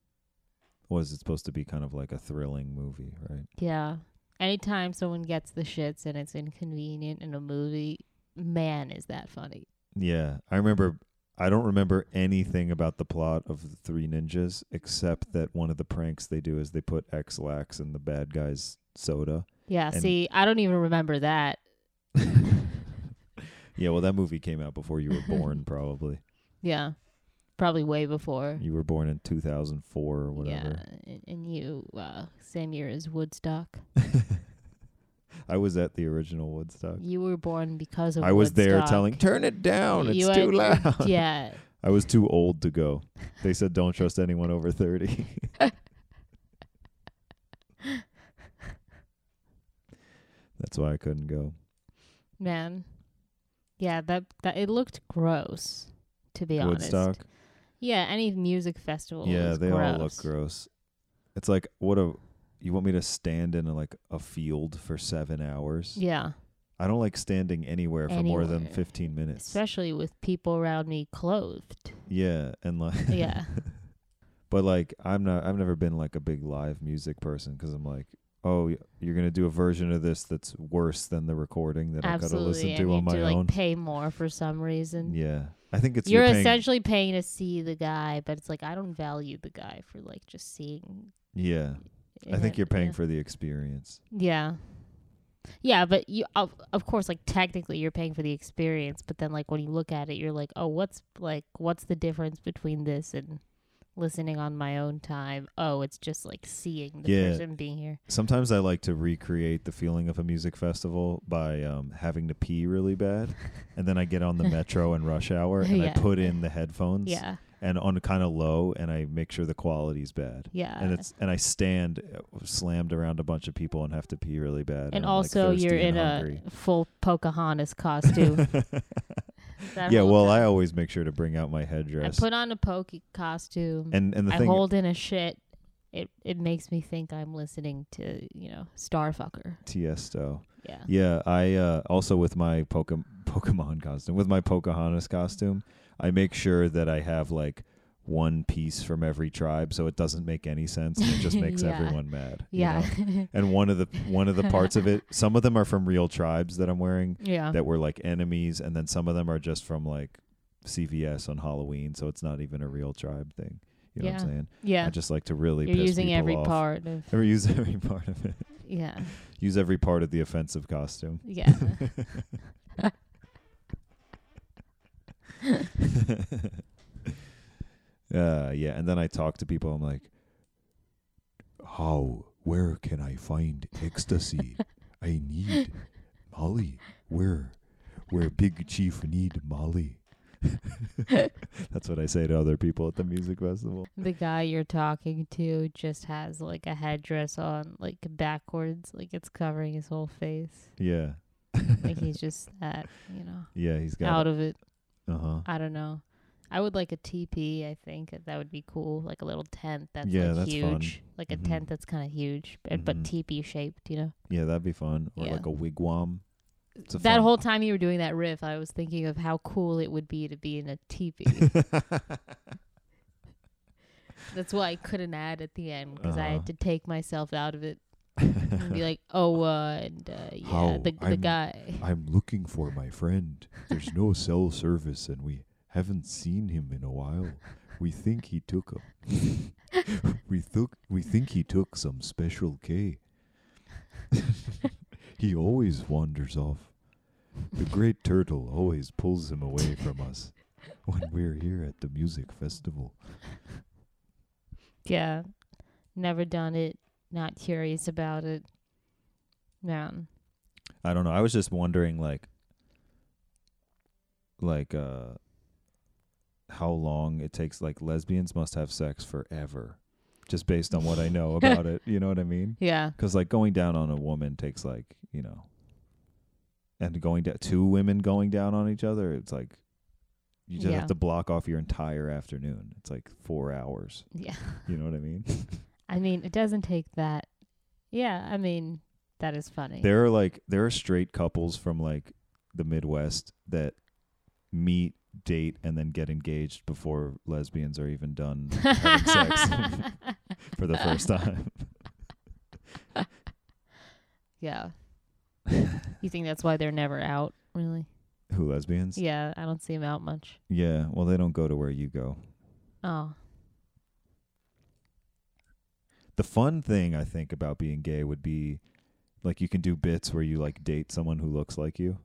C: was it supposed to be kind of like a thrilling movie, right?
D: yeah, anytime someone gets the shits and it's inconvenient in a movie, man, is that funny?
C: Yeah, I remember. I don't remember anything about the plot of the Three Ninjas except that one of the pranks they do is they put X lax in the bad guy's soda.
D: Yeah,
C: And-
D: see, I don't even remember that.
C: Yeah, well, that movie came out before you were born, probably.
D: Yeah, probably way before.
C: You were born in 2004 or whatever.
D: Yeah, and, and you uh, same year as Woodstock.
C: I was at the original Woodstock.
D: You were born because of.
C: I was there
D: Woodstock.
C: telling, turn it down. It's
D: You
C: too
D: were-
C: loud.
D: Yeah,
C: I was too old to go. They said, don't trust anyone over 30. That's why I couldn't go.
D: man. Yeah, that that it looked gross. To be
C: Woodstock.
D: honest, yeah, any music festival.
C: Yeah,
D: is
C: they
D: gross.
C: all look gross. It's like, what a. You want me to stand in like a field for seven hours?
D: Yeah,
C: I don't like standing anywhere for more than
D: Anywhere.
C: 15 minutes.
D: especially with people around me clothed.
C: yeah, and like
D: Yeah,
C: but like I'm not I've never been like a big live music person cuz I'm like, "Oh, y- you're going to do a version of this that's worse than the recording that I've got to
D: absolutely.
C: listen
D: and
C: to
D: you
C: on my
D: do,
C: own."
D: like pay more for some reason.
C: yeah. I think it's
D: You're
C: paying-
D: essentially paying to see the guy, but it's like I don't value the guy for like just seeing.
C: Yeah. I
D: him,
C: think you're paying
D: yeah.
C: for the experience.
D: Yeah. Yeah, but you of, of course like technically you're paying for the experience, but then like when you look at it you're like, "Oh, what's like what's the difference between this and listening on my own time?" Oh, it's just like seeing the
C: Yeah.
D: person being here.
C: Sometimes I like to recreate the feeling of a music festival by um, having to pee really bad, and then I get on the metro in rush hour and I
D: Yeah.
C: put in the headphones
D: Yeah.
C: and on kind of low, and I make sure the quality's bad.
D: Yeah.
C: and it's and I stand uh, slammed around a bunch of people and have to pee really bad.
D: and
C: I'm, like,
D: also
C: thirsty
D: you're
C: and
D: in
C: hungry.
D: a full Pocahontas costume. That
C: yeah.
D: whole
C: Well, I
D: time.
C: always make sure to bring out my
D: I
C: headdress.
D: put on a pokey costume.
C: and and the
D: I
C: thing
D: hold in a shit. It it makes me think I'm listening to, you know, Starfucker.
C: Tiesto.
D: Yeah.
C: Yeah, I uh, also with my Pokemon Pokemon costume, with my Pocahontas costume, I make sure that I have like one piece from every tribe, so it doesn't make any sense and it just makes
D: Yeah.
C: everyone mad. you
D: Yeah.
C: know? And one of the one of the parts of it, some of them are from real tribes that I'm wearing
D: yeah.
C: that were like enemies, and then some of them are just from like CVS on Halloween, so it's not even a real tribe thing. You know what I'm
D: Yeah.
C: saying?
D: yeah.
C: I just like to really
D: You're
C: piss
D: using
C: people
D: every
C: off.
D: part of
C: Or use every part of it.
D: yeah,
C: Use every part of the offensive costume.
D: yeah.
C: Uh, yeah, and then I talk to people. I'm like, how? Where can I find ecstasy? I need Molly. Where? Where Big Chief need Molly? That's what I say to other people at the music festival.
D: the guy you're talking to just has like a headdress on, like backwards, like it's covering his whole face.
C: Yeah,
D: Like he's just that, you know,
C: yeah, he's got.
D: out of it.
C: Uh huh.
D: I don't know. I would like a teepee. I think that would be cool, like a little tent that's
C: Yeah,
D: like
C: that's fun.
D: huge, like a
C: Mhm.
D: tent that's kind of huge, but, but
C: Mhm.
D: teepee shaped. You know,
C: Yeah, that'd be fun. Or
D: Yeah.
C: like a wigwam. It's a
D: that
C: fun-
D: whole time you were doing that riff, I was thinking of how cool it would be to be in a teepee. That's why I couldn't add at the end 'cause I
C: Uh-huh.
D: had to take myself out of it and be like, oh, uh, and uh, yeah,
C: How
D: the the
C: I'm-
D: guy.
C: I'm looking for my friend. There's no cell service, and we haven't seen him in a while. We think he took a. we took. We think he took some special K. he always wanders off. The great turtle always pulls him away from us.
E: when we're here at the music festival.
D: Yeah. Never done it. Not curious about it. Man.
E: I don't know. I was just wondering, like, like uh, how long it takes. Like, lesbians must have sex forever, just based on what I know about it. You know what I mean?
D: Yeah.
E: Because like going down on a woman takes like you know, and going down two women going down on each other, it's like you just
D: Yeah.
E: have to block off your entire afternoon. It's like four hours.
D: Yeah.
E: You know what I mean?
D: I mean, it doesn't take that. Yeah, I mean, that is funny.
E: there are like there are straight couples from like the Midwest that meet, date, and then get engaged before lesbians are even done having sex for the first time.
D: yeah. you think that's why they're never out, really?
E: Who lesbians?
D: Yeah, I don't see them out much.
E: Yeah, Well, they don't go to where you go.
D: Oh,
E: The fun thing I think about being gay would be like you can do bits where you like date someone who looks like you.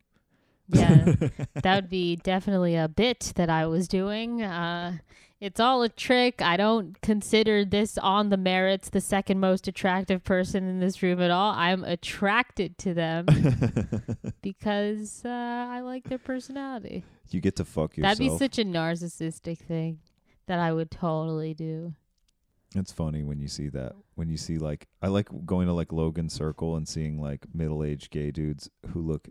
D: yeah. that would be definitely a bit that I was doing. Uh, it's all a trick. I don't consider this on the merits the second most attractive person in this room at all. I'm attracted to them because uh, I like their personality.
E: you get to fuck yourself.
D: That'd be such a narcissistic thing that I would totally do.
E: It's funny when you see that. When you see like I like going to like Logan Circle and seeing like middle-aged gay dudes who look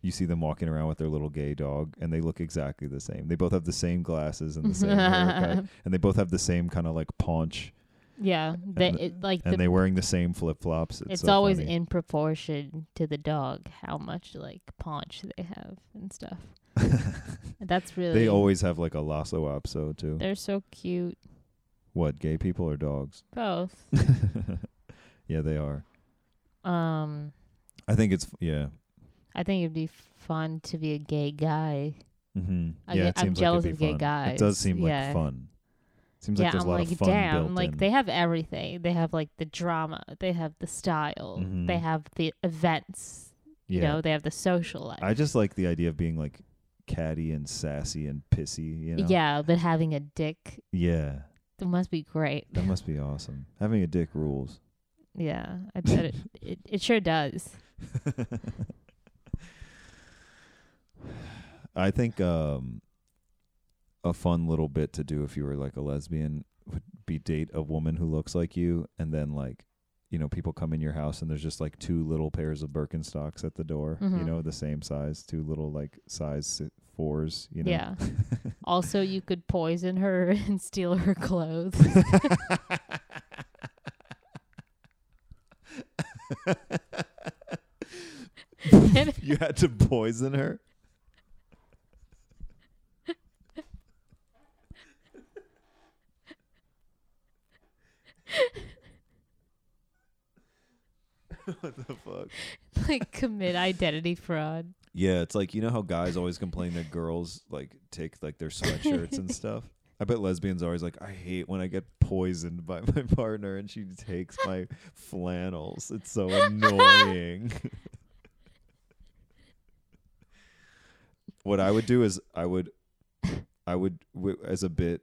E: you see them walking around with their little gay dog and they look exactly the same. They both have the same glasses and the same haircut and they both have the same kind of like paunch
D: Yeah, the,
E: And-
D: it, like
E: and
D: the,
E: they're wearing the same flip-flops. It's,
D: it's
E: so
D: always
E: funny.
D: in proportion to the dog how much like paunch they have and stuff. That's really
E: They always have like a lasso opso too.
D: they're so cute.
E: What, gay people or dogs?
D: Both.
E: yeah, they are.
D: Um,
E: I think it's yeah.
D: I think it'd be fun to be a gay guy.
E: Mm-hmm.
D: I
E: yeah,
D: get-
E: it
D: I'm
E: seems
D: jealous
E: like
D: of
E: it'd be
D: gay
E: fun.
D: guys.
E: It does seem like
D: Yeah.
E: fun. Seems
D: yeah,
E: like there's
D: I'm
E: a lot
D: like,
E: of fun
D: damn,
E: built
D: like
E: in.
D: they have everything. They have like the drama. They have the style. They
E: Mhm.
D: have the events. You know, they have the social life.
E: I just like the idea of being like catty and sassy and pissy. You know?
D: Yeah, but having a dick
E: Yeah.
D: that must be great.
E: That must be awesome. Having a dick rules.
D: Yeah, I bet it, it. It sure does.
E: I think um, a fun little bit to do if you were like a lesbian would be date a woman who looks like you, and then like you know people come in your house and there's just like two little pairs of Birkenstocks at the door. You
D: Mhm.
E: know the same size, two little like size s- fours. You know.
D: Yeah. also, you could poison her and steal her clothes.
E: you had to poison her. what the fuck?
D: like commit identity fraud.
E: Yeah, it's like you know how guys always complain that girls like take like their sweatshirts and stuff. I bet lesbians are always like, I hate when I get poisoned by my partner and she takes my flannels. It's so annoying. what I would do is I would, I would w- as a bit,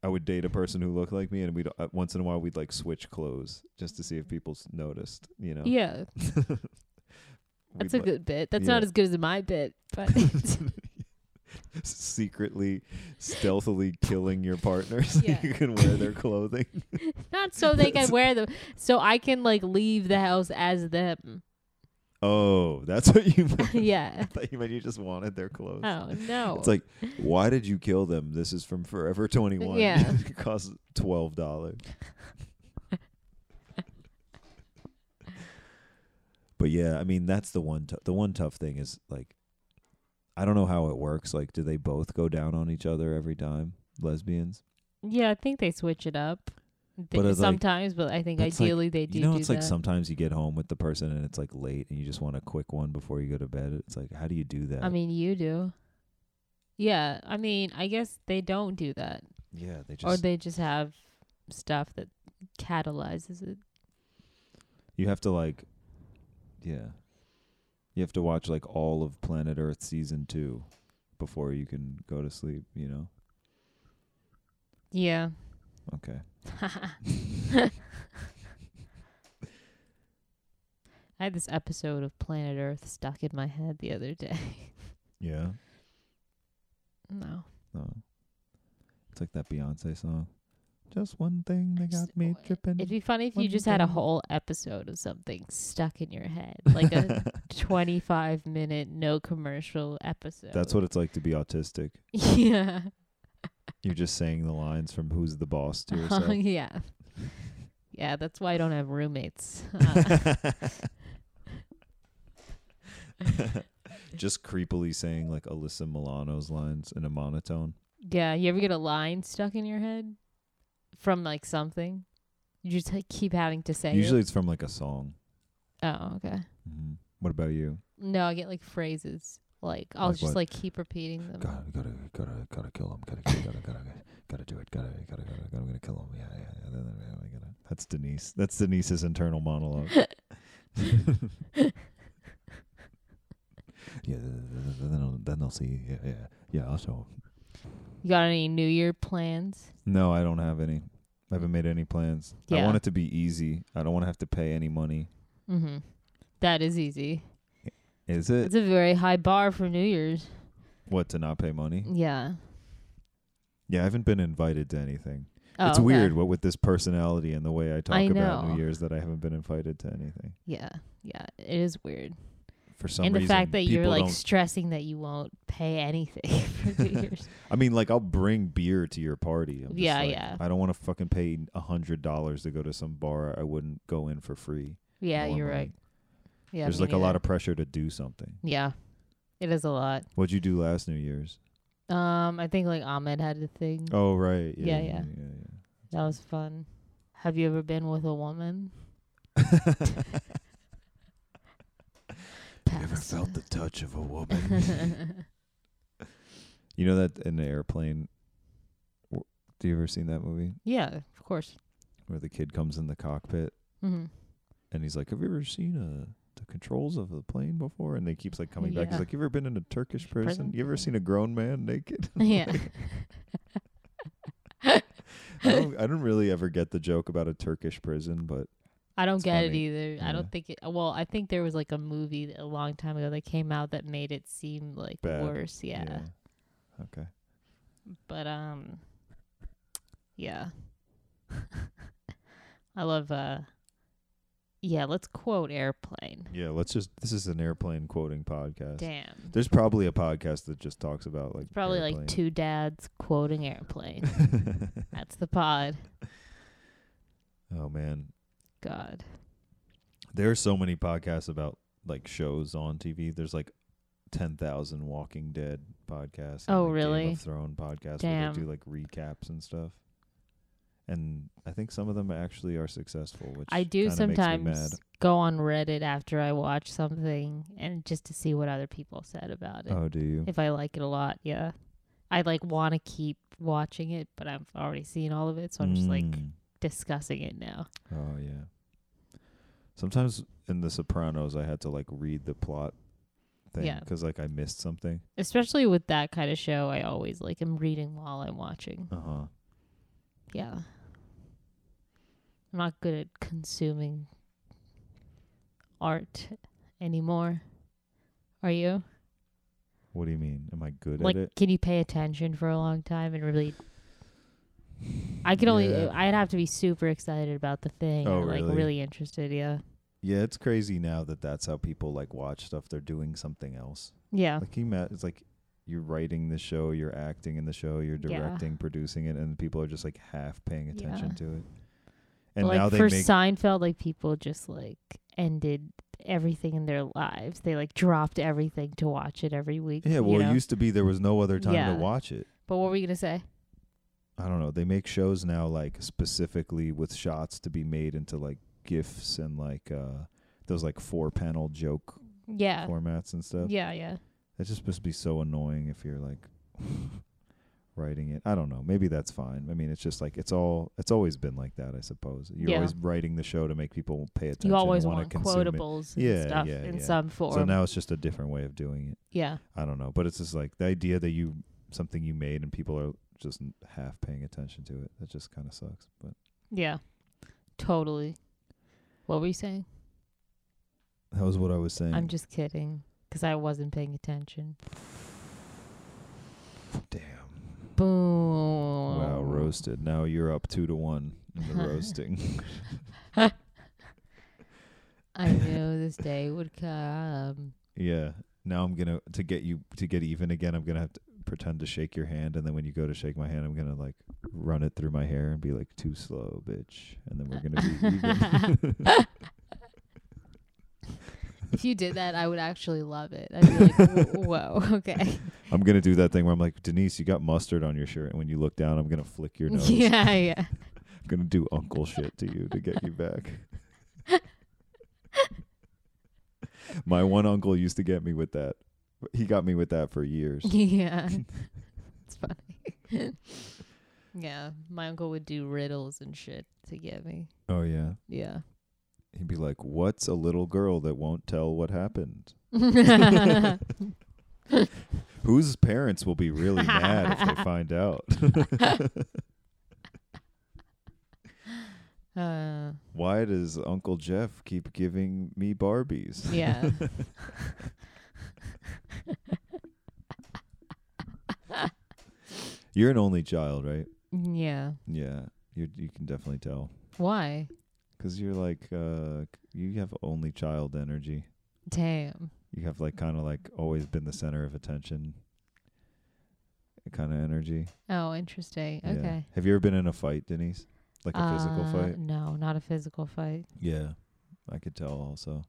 E: I would date a person who looked like me, and we'd uh, once in a while we'd like switch clothes just to see if people s- noticed. You know,
D: Yeah, that's
E: We'd,
D: a
E: like,
D: good bit. That's
E: yeah.
D: not as good as my bit, but
E: secretly, stealthily killing your partner so
D: Yeah.
E: you can wear their clothing.
D: not so they can wear them. So I can like leave the house as them.
E: Oh, that's what you meant.
D: yeah.
E: I thought you meant you just wanted their clothes.
D: Oh no.
E: It's like, why did you kill them? This is from Forever 21.
D: Yeah.
E: it costs $12. but yeah, I mean, that's the one tou- the one tough thing is like I don't know how it works. Like do they both go down on each other every time? Lesbians?
D: yeah, I think they switch it up. They-
E: But it's like-
D: sometimes, but I think
E: that's like-
D: ideally they do.
E: you know,
D: do
E: it's like
D: that.
E: sometimes you get home with the person and it's like late and you just want a quick one before you go to bed. It's like, how do you do that?
D: I mean, you do. Yeah, I mean, I guess they don't do that,
E: yeah, they
D: or
E: just
D: they just have stuff that catalyzes it.
E: you have to like, yeah, you have to watch like all of Planet Earth season two before you can go to sleep, you know?
D: Yeah.
E: Okay.
D: I had this episode of Planet Earth stuck in my head the other day.
E: Yeah.
D: No.
E: No. It's like that Beyonce song. Just one thing that
D: Just-
E: got me tripping.
D: It'd be funny if you
E: One
D: just had a
E: thing.
D: whole episode of something stuck in your head, like a 25 minute no commercial episode.
E: That's what it's like to be autistic.
D: Yeah.
E: You're just saying the lines from Who's the Boss to yourself.
D: yeah. Yeah, that's why I don't have roommates. Uh,
E: just creepily saying like Alyssa Milano's lines in a monotone.
D: yeah, you ever get a line stuck in your head from like something? You just like, keep having to say it?
E: Usually it's from like a song.
D: Oh, okay.
E: Mhm. What about you?
D: No, I get like phrases. Like I'll
E: Like
D: just
E: what?
D: like keep repeating them.
E: Gotta, gotta, gotta, gotta kill him. Gotta, gotta, gotta, gotta, gotta do it. Gotta, gotta, gotta, gotta, I'm gonna kill him. Yeah, yeah, yeah. yeah, yeah, yeah, gotta. That's Denise. That's Denise's internal monologue. yeah, yeah, yeah, yeah, then I'll, then I'll see. Yeah, yeah, yeah. I'll show him.
D: You got any New Year plans?
E: No, I don't have any. I haven't made any plans. I
D: Yeah.
E: want it to be easy. I don't want to have to pay any money.
D: Mm-hmm. That is easy.
E: Is it
D: It's a very high bar for New Year's.
E: what to not pay money?
D: Yeah.
E: Yeah, I haven't been invited to anything.
D: Oh,
E: it's
D: okay.
E: weird what with this personality and the way I talk
D: I
E: about New
D: know.
E: Year's that I haven't been invited to anything.
D: Yeah. Yeah. It is weird.
E: For some
D: and the
E: reason,
D: fact that you're
E: people
D: like
E: don't-
D: stressing that you won't pay anything for New Year's.
E: I mean, like I'll bring beer to your party. I'm just
D: Yeah,
E: like,
D: yeah.
E: I don't want to fucking pay a hundred dollars to go to some bar I wouldn't go in for free.
D: Yeah, you're
E: normally.
D: right. Yeah.
E: There's
D: me
E: like a lot
D: neither.
E: of pressure to do something.
D: Yeah. It is a lot.
E: What'd you do last New Year's?
D: Um, I think like Ahmed had a thing.
E: Oh right, yeah,
D: Yeah,
E: yeah.
D: yeah. That was fun. Have you ever been with a woman?
E: You ever
D: Pass.
E: felt the touch of a woman? you know that in the airplane. w- Do you ever seen that movie
D: yeah, of course.
E: where the kid comes in the cockpit
D: hmm
E: and he's like, "Have you ever seen a the controls of the plane before?" And they keeps like coming back. He's
D: Yeah.
E: like, "You ever been in a Turkish prison?
D: Prison?
E: You ever seen a grown man naked?"
D: Yeah.
E: I don't. I don't really ever get the joke about a Turkish prison, but
D: I don't
E: It's
D: get it
E: funny.
D: either. I
E: Yeah.
D: don't think it. Well, I think there was like a movie that- a long time ago that came out that made it seem like
E: Bad.
D: worse. Yeah.
E: Okay.
D: But um, yeah. I love uh, yeah. Let's quote airplane.
E: Yeah. Let's just. This is an airplane quoting podcast.
D: Damn.
E: There's probably a podcast that just talks about like
D: Probably
E: airplane.
D: like two dads quoting airplane. That's the pod.
E: oh man,
D: God.
E: there are so many podcasts about like shows on TV. There's like ten thousand Walking Dead podcasts. and,
D: Oh,
E: like, Game
D: really?
E: of Thrones podcasts where
D: Damn.
E: they do like recaps and stuff. And I think some of them actually are successful, which
D: I do
E: kinda makes me mad.
D: sometimes go on Reddit after I watch something and just to see what other people said about it.
E: Oh, do you?
D: If I like it a lot, yeah. I like want to keep watching it, but I've already seen all of it, so I'm just like
E: Mm.
D: discussing it now.
E: Oh yeah. Sometimes in The Sopranos, I had to like read the plot thing
D: Yeah.
E: because like I missed something.
D: Especially with that kind of show, I always like am reading while I'm watching.
E: Uh huh.
D: Yeah. I'm not good at consuming art anymore. Are you?
E: What do you mean? Am I good
D: like
E: at it?
D: can you pay attention for a long time and really I could only
E: Yeah.
D: I'd have to be super excited about the thing
E: Oh,
D: or like
E: really?
D: really interested, yeah.
E: Yeah, it's crazy now that that's how people like watch stuff. They're doing something else.
D: Yeah.
E: Like you met, it's like you're writing the show, you're acting in the show, you're
D: Yeah.
E: directing, producing it, and people are just like half paying attention
D: Yeah.
E: to it. And
D: like
E: now they
D: for
E: make
D: Seinfeld, like people just like ended everything in their lives. They like dropped everything to watch it every week.
E: yeah.
D: you
E: Well,
D: know?
E: it used to be there was no other time
D: Yeah.
E: to watch it.
D: but what were you gonna say?
E: I don't know. They make shows now like specifically with shots to be made into like gifs and like uh those like four panel joke
D: Yeah. Mm-hmm.
E: formats and stuff.
D: Yeah, yeah.
E: It's just supposed to be so annoying if you're like writing it. I don't know. Maybe that's fine. I mean, it's just like it's all it's always been like that, I suppose. You're
D: Yeah.
E: always writing the show to make people pay attention.
D: you always
E: want
D: want quotables and
E: Yeah,
D: stuff
E: yeah,
D: in
E: yeah.
D: some
E: It.
D: form.
E: So now it's just a different way of doing it.
D: yeah.
E: I don't know, but it's just like the idea that you something you made and people are just n- half paying attention to it. That just kind of sucks. But
D: Yeah. Totally. What were you saying?
E: that was what I was saying.
D: I'm just kidding. 'Cause I wasn't paying attention.
E: Damn.
D: Boom.
E: Wow, roasted. Now you're up two to one in the roasting.
D: I knew this day would come.
E: Yeah. Now I'm gonna to get you to get even again. I'm gonna have to pretend to shake your hand, and then when you go to shake my hand, I'm gonna like run it through my hair and be like, "Too slow, bitch," and then we're gonna be even.
D: If you did that, I would actually love it. I'd be like, "Wh- whoa, okay.
E: I'm gonna do that thing where I'm like, Denise, you got mustard on your shirt, and when you look down, I'm gonna flick your nose.
D: Yeah, yeah.
E: I'm gonna do uncle shit to you to get you back. my one uncle used to get me with that. He got me with that for years.
D: Yeah. it's funny. yeah. My uncle would do riddles and shit to get me.
E: Oh yeah.
D: Yeah.
E: He'd be like, "What's a little girl that won't tell what happened?" Whose parents will be really mad if they find out?
D: uh,
E: Why does Uncle Jeff keep giving me Barbies?
D: yeah.
E: You're an only child, right?
D: Yeah.
E: Yeah, you you can definitely tell
D: Why?
E: because you're like uh you have only child energy.
D: Damn.
E: You have like kind of like always been the center of attention kind of energy.
D: Oh, interesting.
E: Yeah.
D: Okay.
E: Have you ever been in a fight, Denise? Like a physical
D: Uh,
E: fight?
D: No, not a physical fight.
E: Yeah, I could tell also.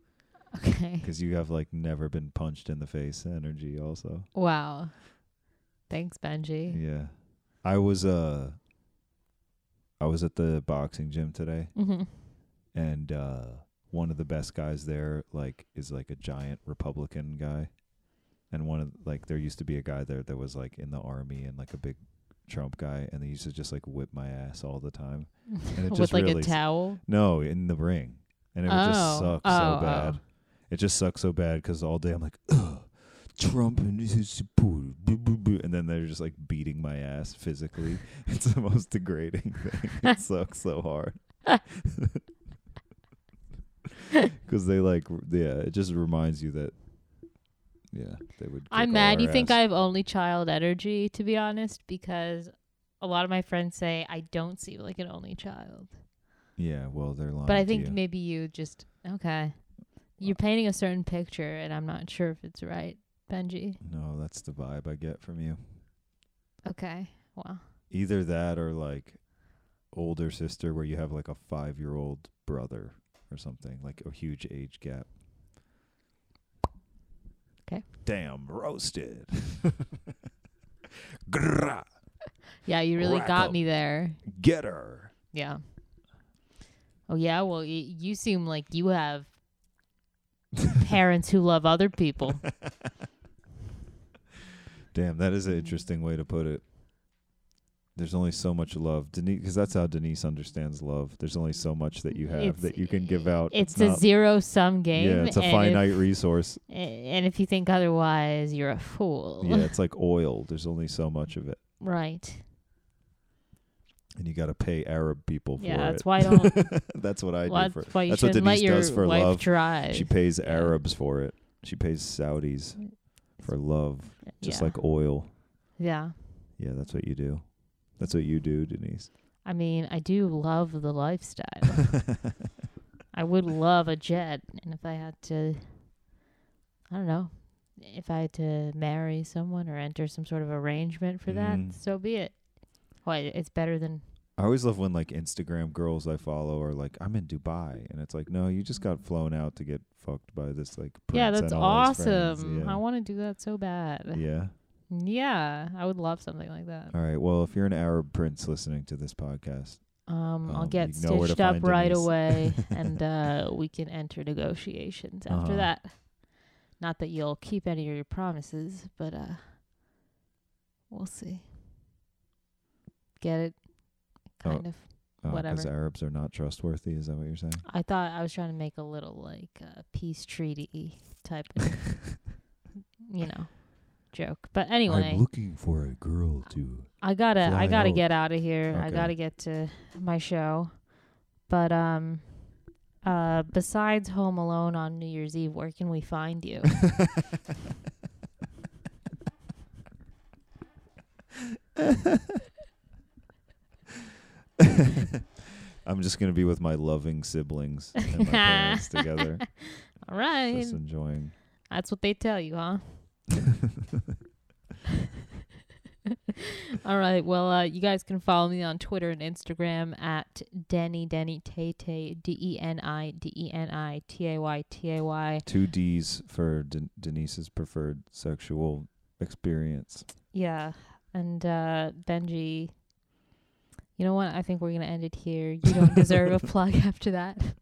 D: Okay.
E: because you have like never been punched in the face energy also
D: Wow. Thanks, Benji.
E: yeah i was uh i was at the boxing gym today
D: Mm-hmm.
E: and uh one of the best guys there like is like a giant republican guy and one of like there used to be a guy there that was like in the army and like a big trump guy and he used to just like whip my ass all the time and it
D: With
E: just
D: like
E: really
D: a towel.
E: no in the ring and it would just
D: Oh.
E: suck
D: Oh,
E: so bad
D: oh.
E: It just sucks so bad 'cause all day I'm like, Ugh, Trump and his support, boo, boo, boo," and then they're just like beating my ass physically. it's the most degrading thing. It sucks so hard. 'Cause they like, r- yeah, it just reminds you that, yeah, they would.
D: I'm
E: kick all
D: mad
E: our
D: you think I
E: ass.
D: have only child energy, to be honest, because a lot of my friends say I don't seem like an only child.
E: Yeah, well, they're lying.
D: But I
E: to
D: think
E: you.
D: maybe you just, okay. You're painting a certain picture, and I'm not sure if it's right, Benji.
E: no, that's the vibe I get from you.
D: Okay. Wow.
E: Either that or like older sister, where you have like a five year old brother or something, like a huge age gap.
D: 'Kay.
E: Damn, roasted. Grrrah,
D: Yeah, you really
E: Whack
D: got
E: 'em.
D: me there.
E: get her.
D: Yeah. Oh yeah, well y- you seem like you have parents who love other people.
E: Damn, that
D: Mm.
E: is an interesting way to put it. There's only so much love, Denise, because that's how Denise understands love. There's only so much that you have
D: It's-
E: that you can give out.
D: It's a
E: not-
D: zero sum game.
E: Yeah, it's a
D: and
E: finite resource.
D: If, and if you think otherwise, you're a fool.
E: Yeah, it's like oil. There's only so much of it.
D: Right.
E: and you got to pay Arab people for
D: Yeah,
E: it.
D: that's why I don't.
E: that's what I
D: that's
E: do for.
D: why you
E: that's what
D: shouldn't let
E: Denise
D: your
E: does for
D: wife
E: love.
D: drive.
E: She pays Arabs for it. She pays Saudis for love, just
D: yeah.
E: like oil.
D: yeah.
E: Yeah, that's what you do. That's what you do, Denise.
D: I mean, I do love the lifestyle. I would love a jet, and if I had to, I don't know, if I had to marry someone or enter some sort of arrangement for
E: Mm.
D: that, so be it. Well, it- it's better than
E: I always love when like Instagram girls I follow are like, "I'm in Dubai," and it's like, "No, you just got flown out to get fucked by this like prince."
D: yeah, that's
E: and all his friends."
D: awesome.
E: Yeah.
D: I want to do that so bad.
E: yeah.
D: Yeah. I would love something like that.
E: All right. Well, if you're an Arab prince listening to this podcast,
D: Um, I'll
E: Um,
D: get
E: you know where to
D: stitched up
E: find
D: right
E: Denise.
D: away, and uh, we can enter negotiations after
E: Uh-huh.
D: that. Not that you'll keep any of your promises, but uh, we'll see. Get it?
E: Oh.
D: Kind of.
E: Because
D: Whatever.
E: Arabs are not trustworthy. Is that what you're saying?
D: I thought I was trying to make a little like uh, peace treaty type, of, you know, joke. But anyway,
E: I'm looking for a girl to.
D: I gotta I
E: fly
D: gotta
E: out.
D: get out of here. I
E: Okay.
D: gotta get to my show. But um, uh, besides Home Alone on New Year's Eve, where can we find you?
E: I'm just gonna be with my loving siblings and my parents together,
D: All right,
E: just enjoying.
D: that's what they tell you, huh? All right. Well, uh, you guys can follow me on Twitter and Instagram at Denny Denny Tay Tay D E N I D E N I T A Y T A Y.
E: Two D's for Den- Denise's preferred sexual experience.
D: Yeah. And uh, Benji, you know what? I think we're gonna end it here. You don't deserve a plug after that.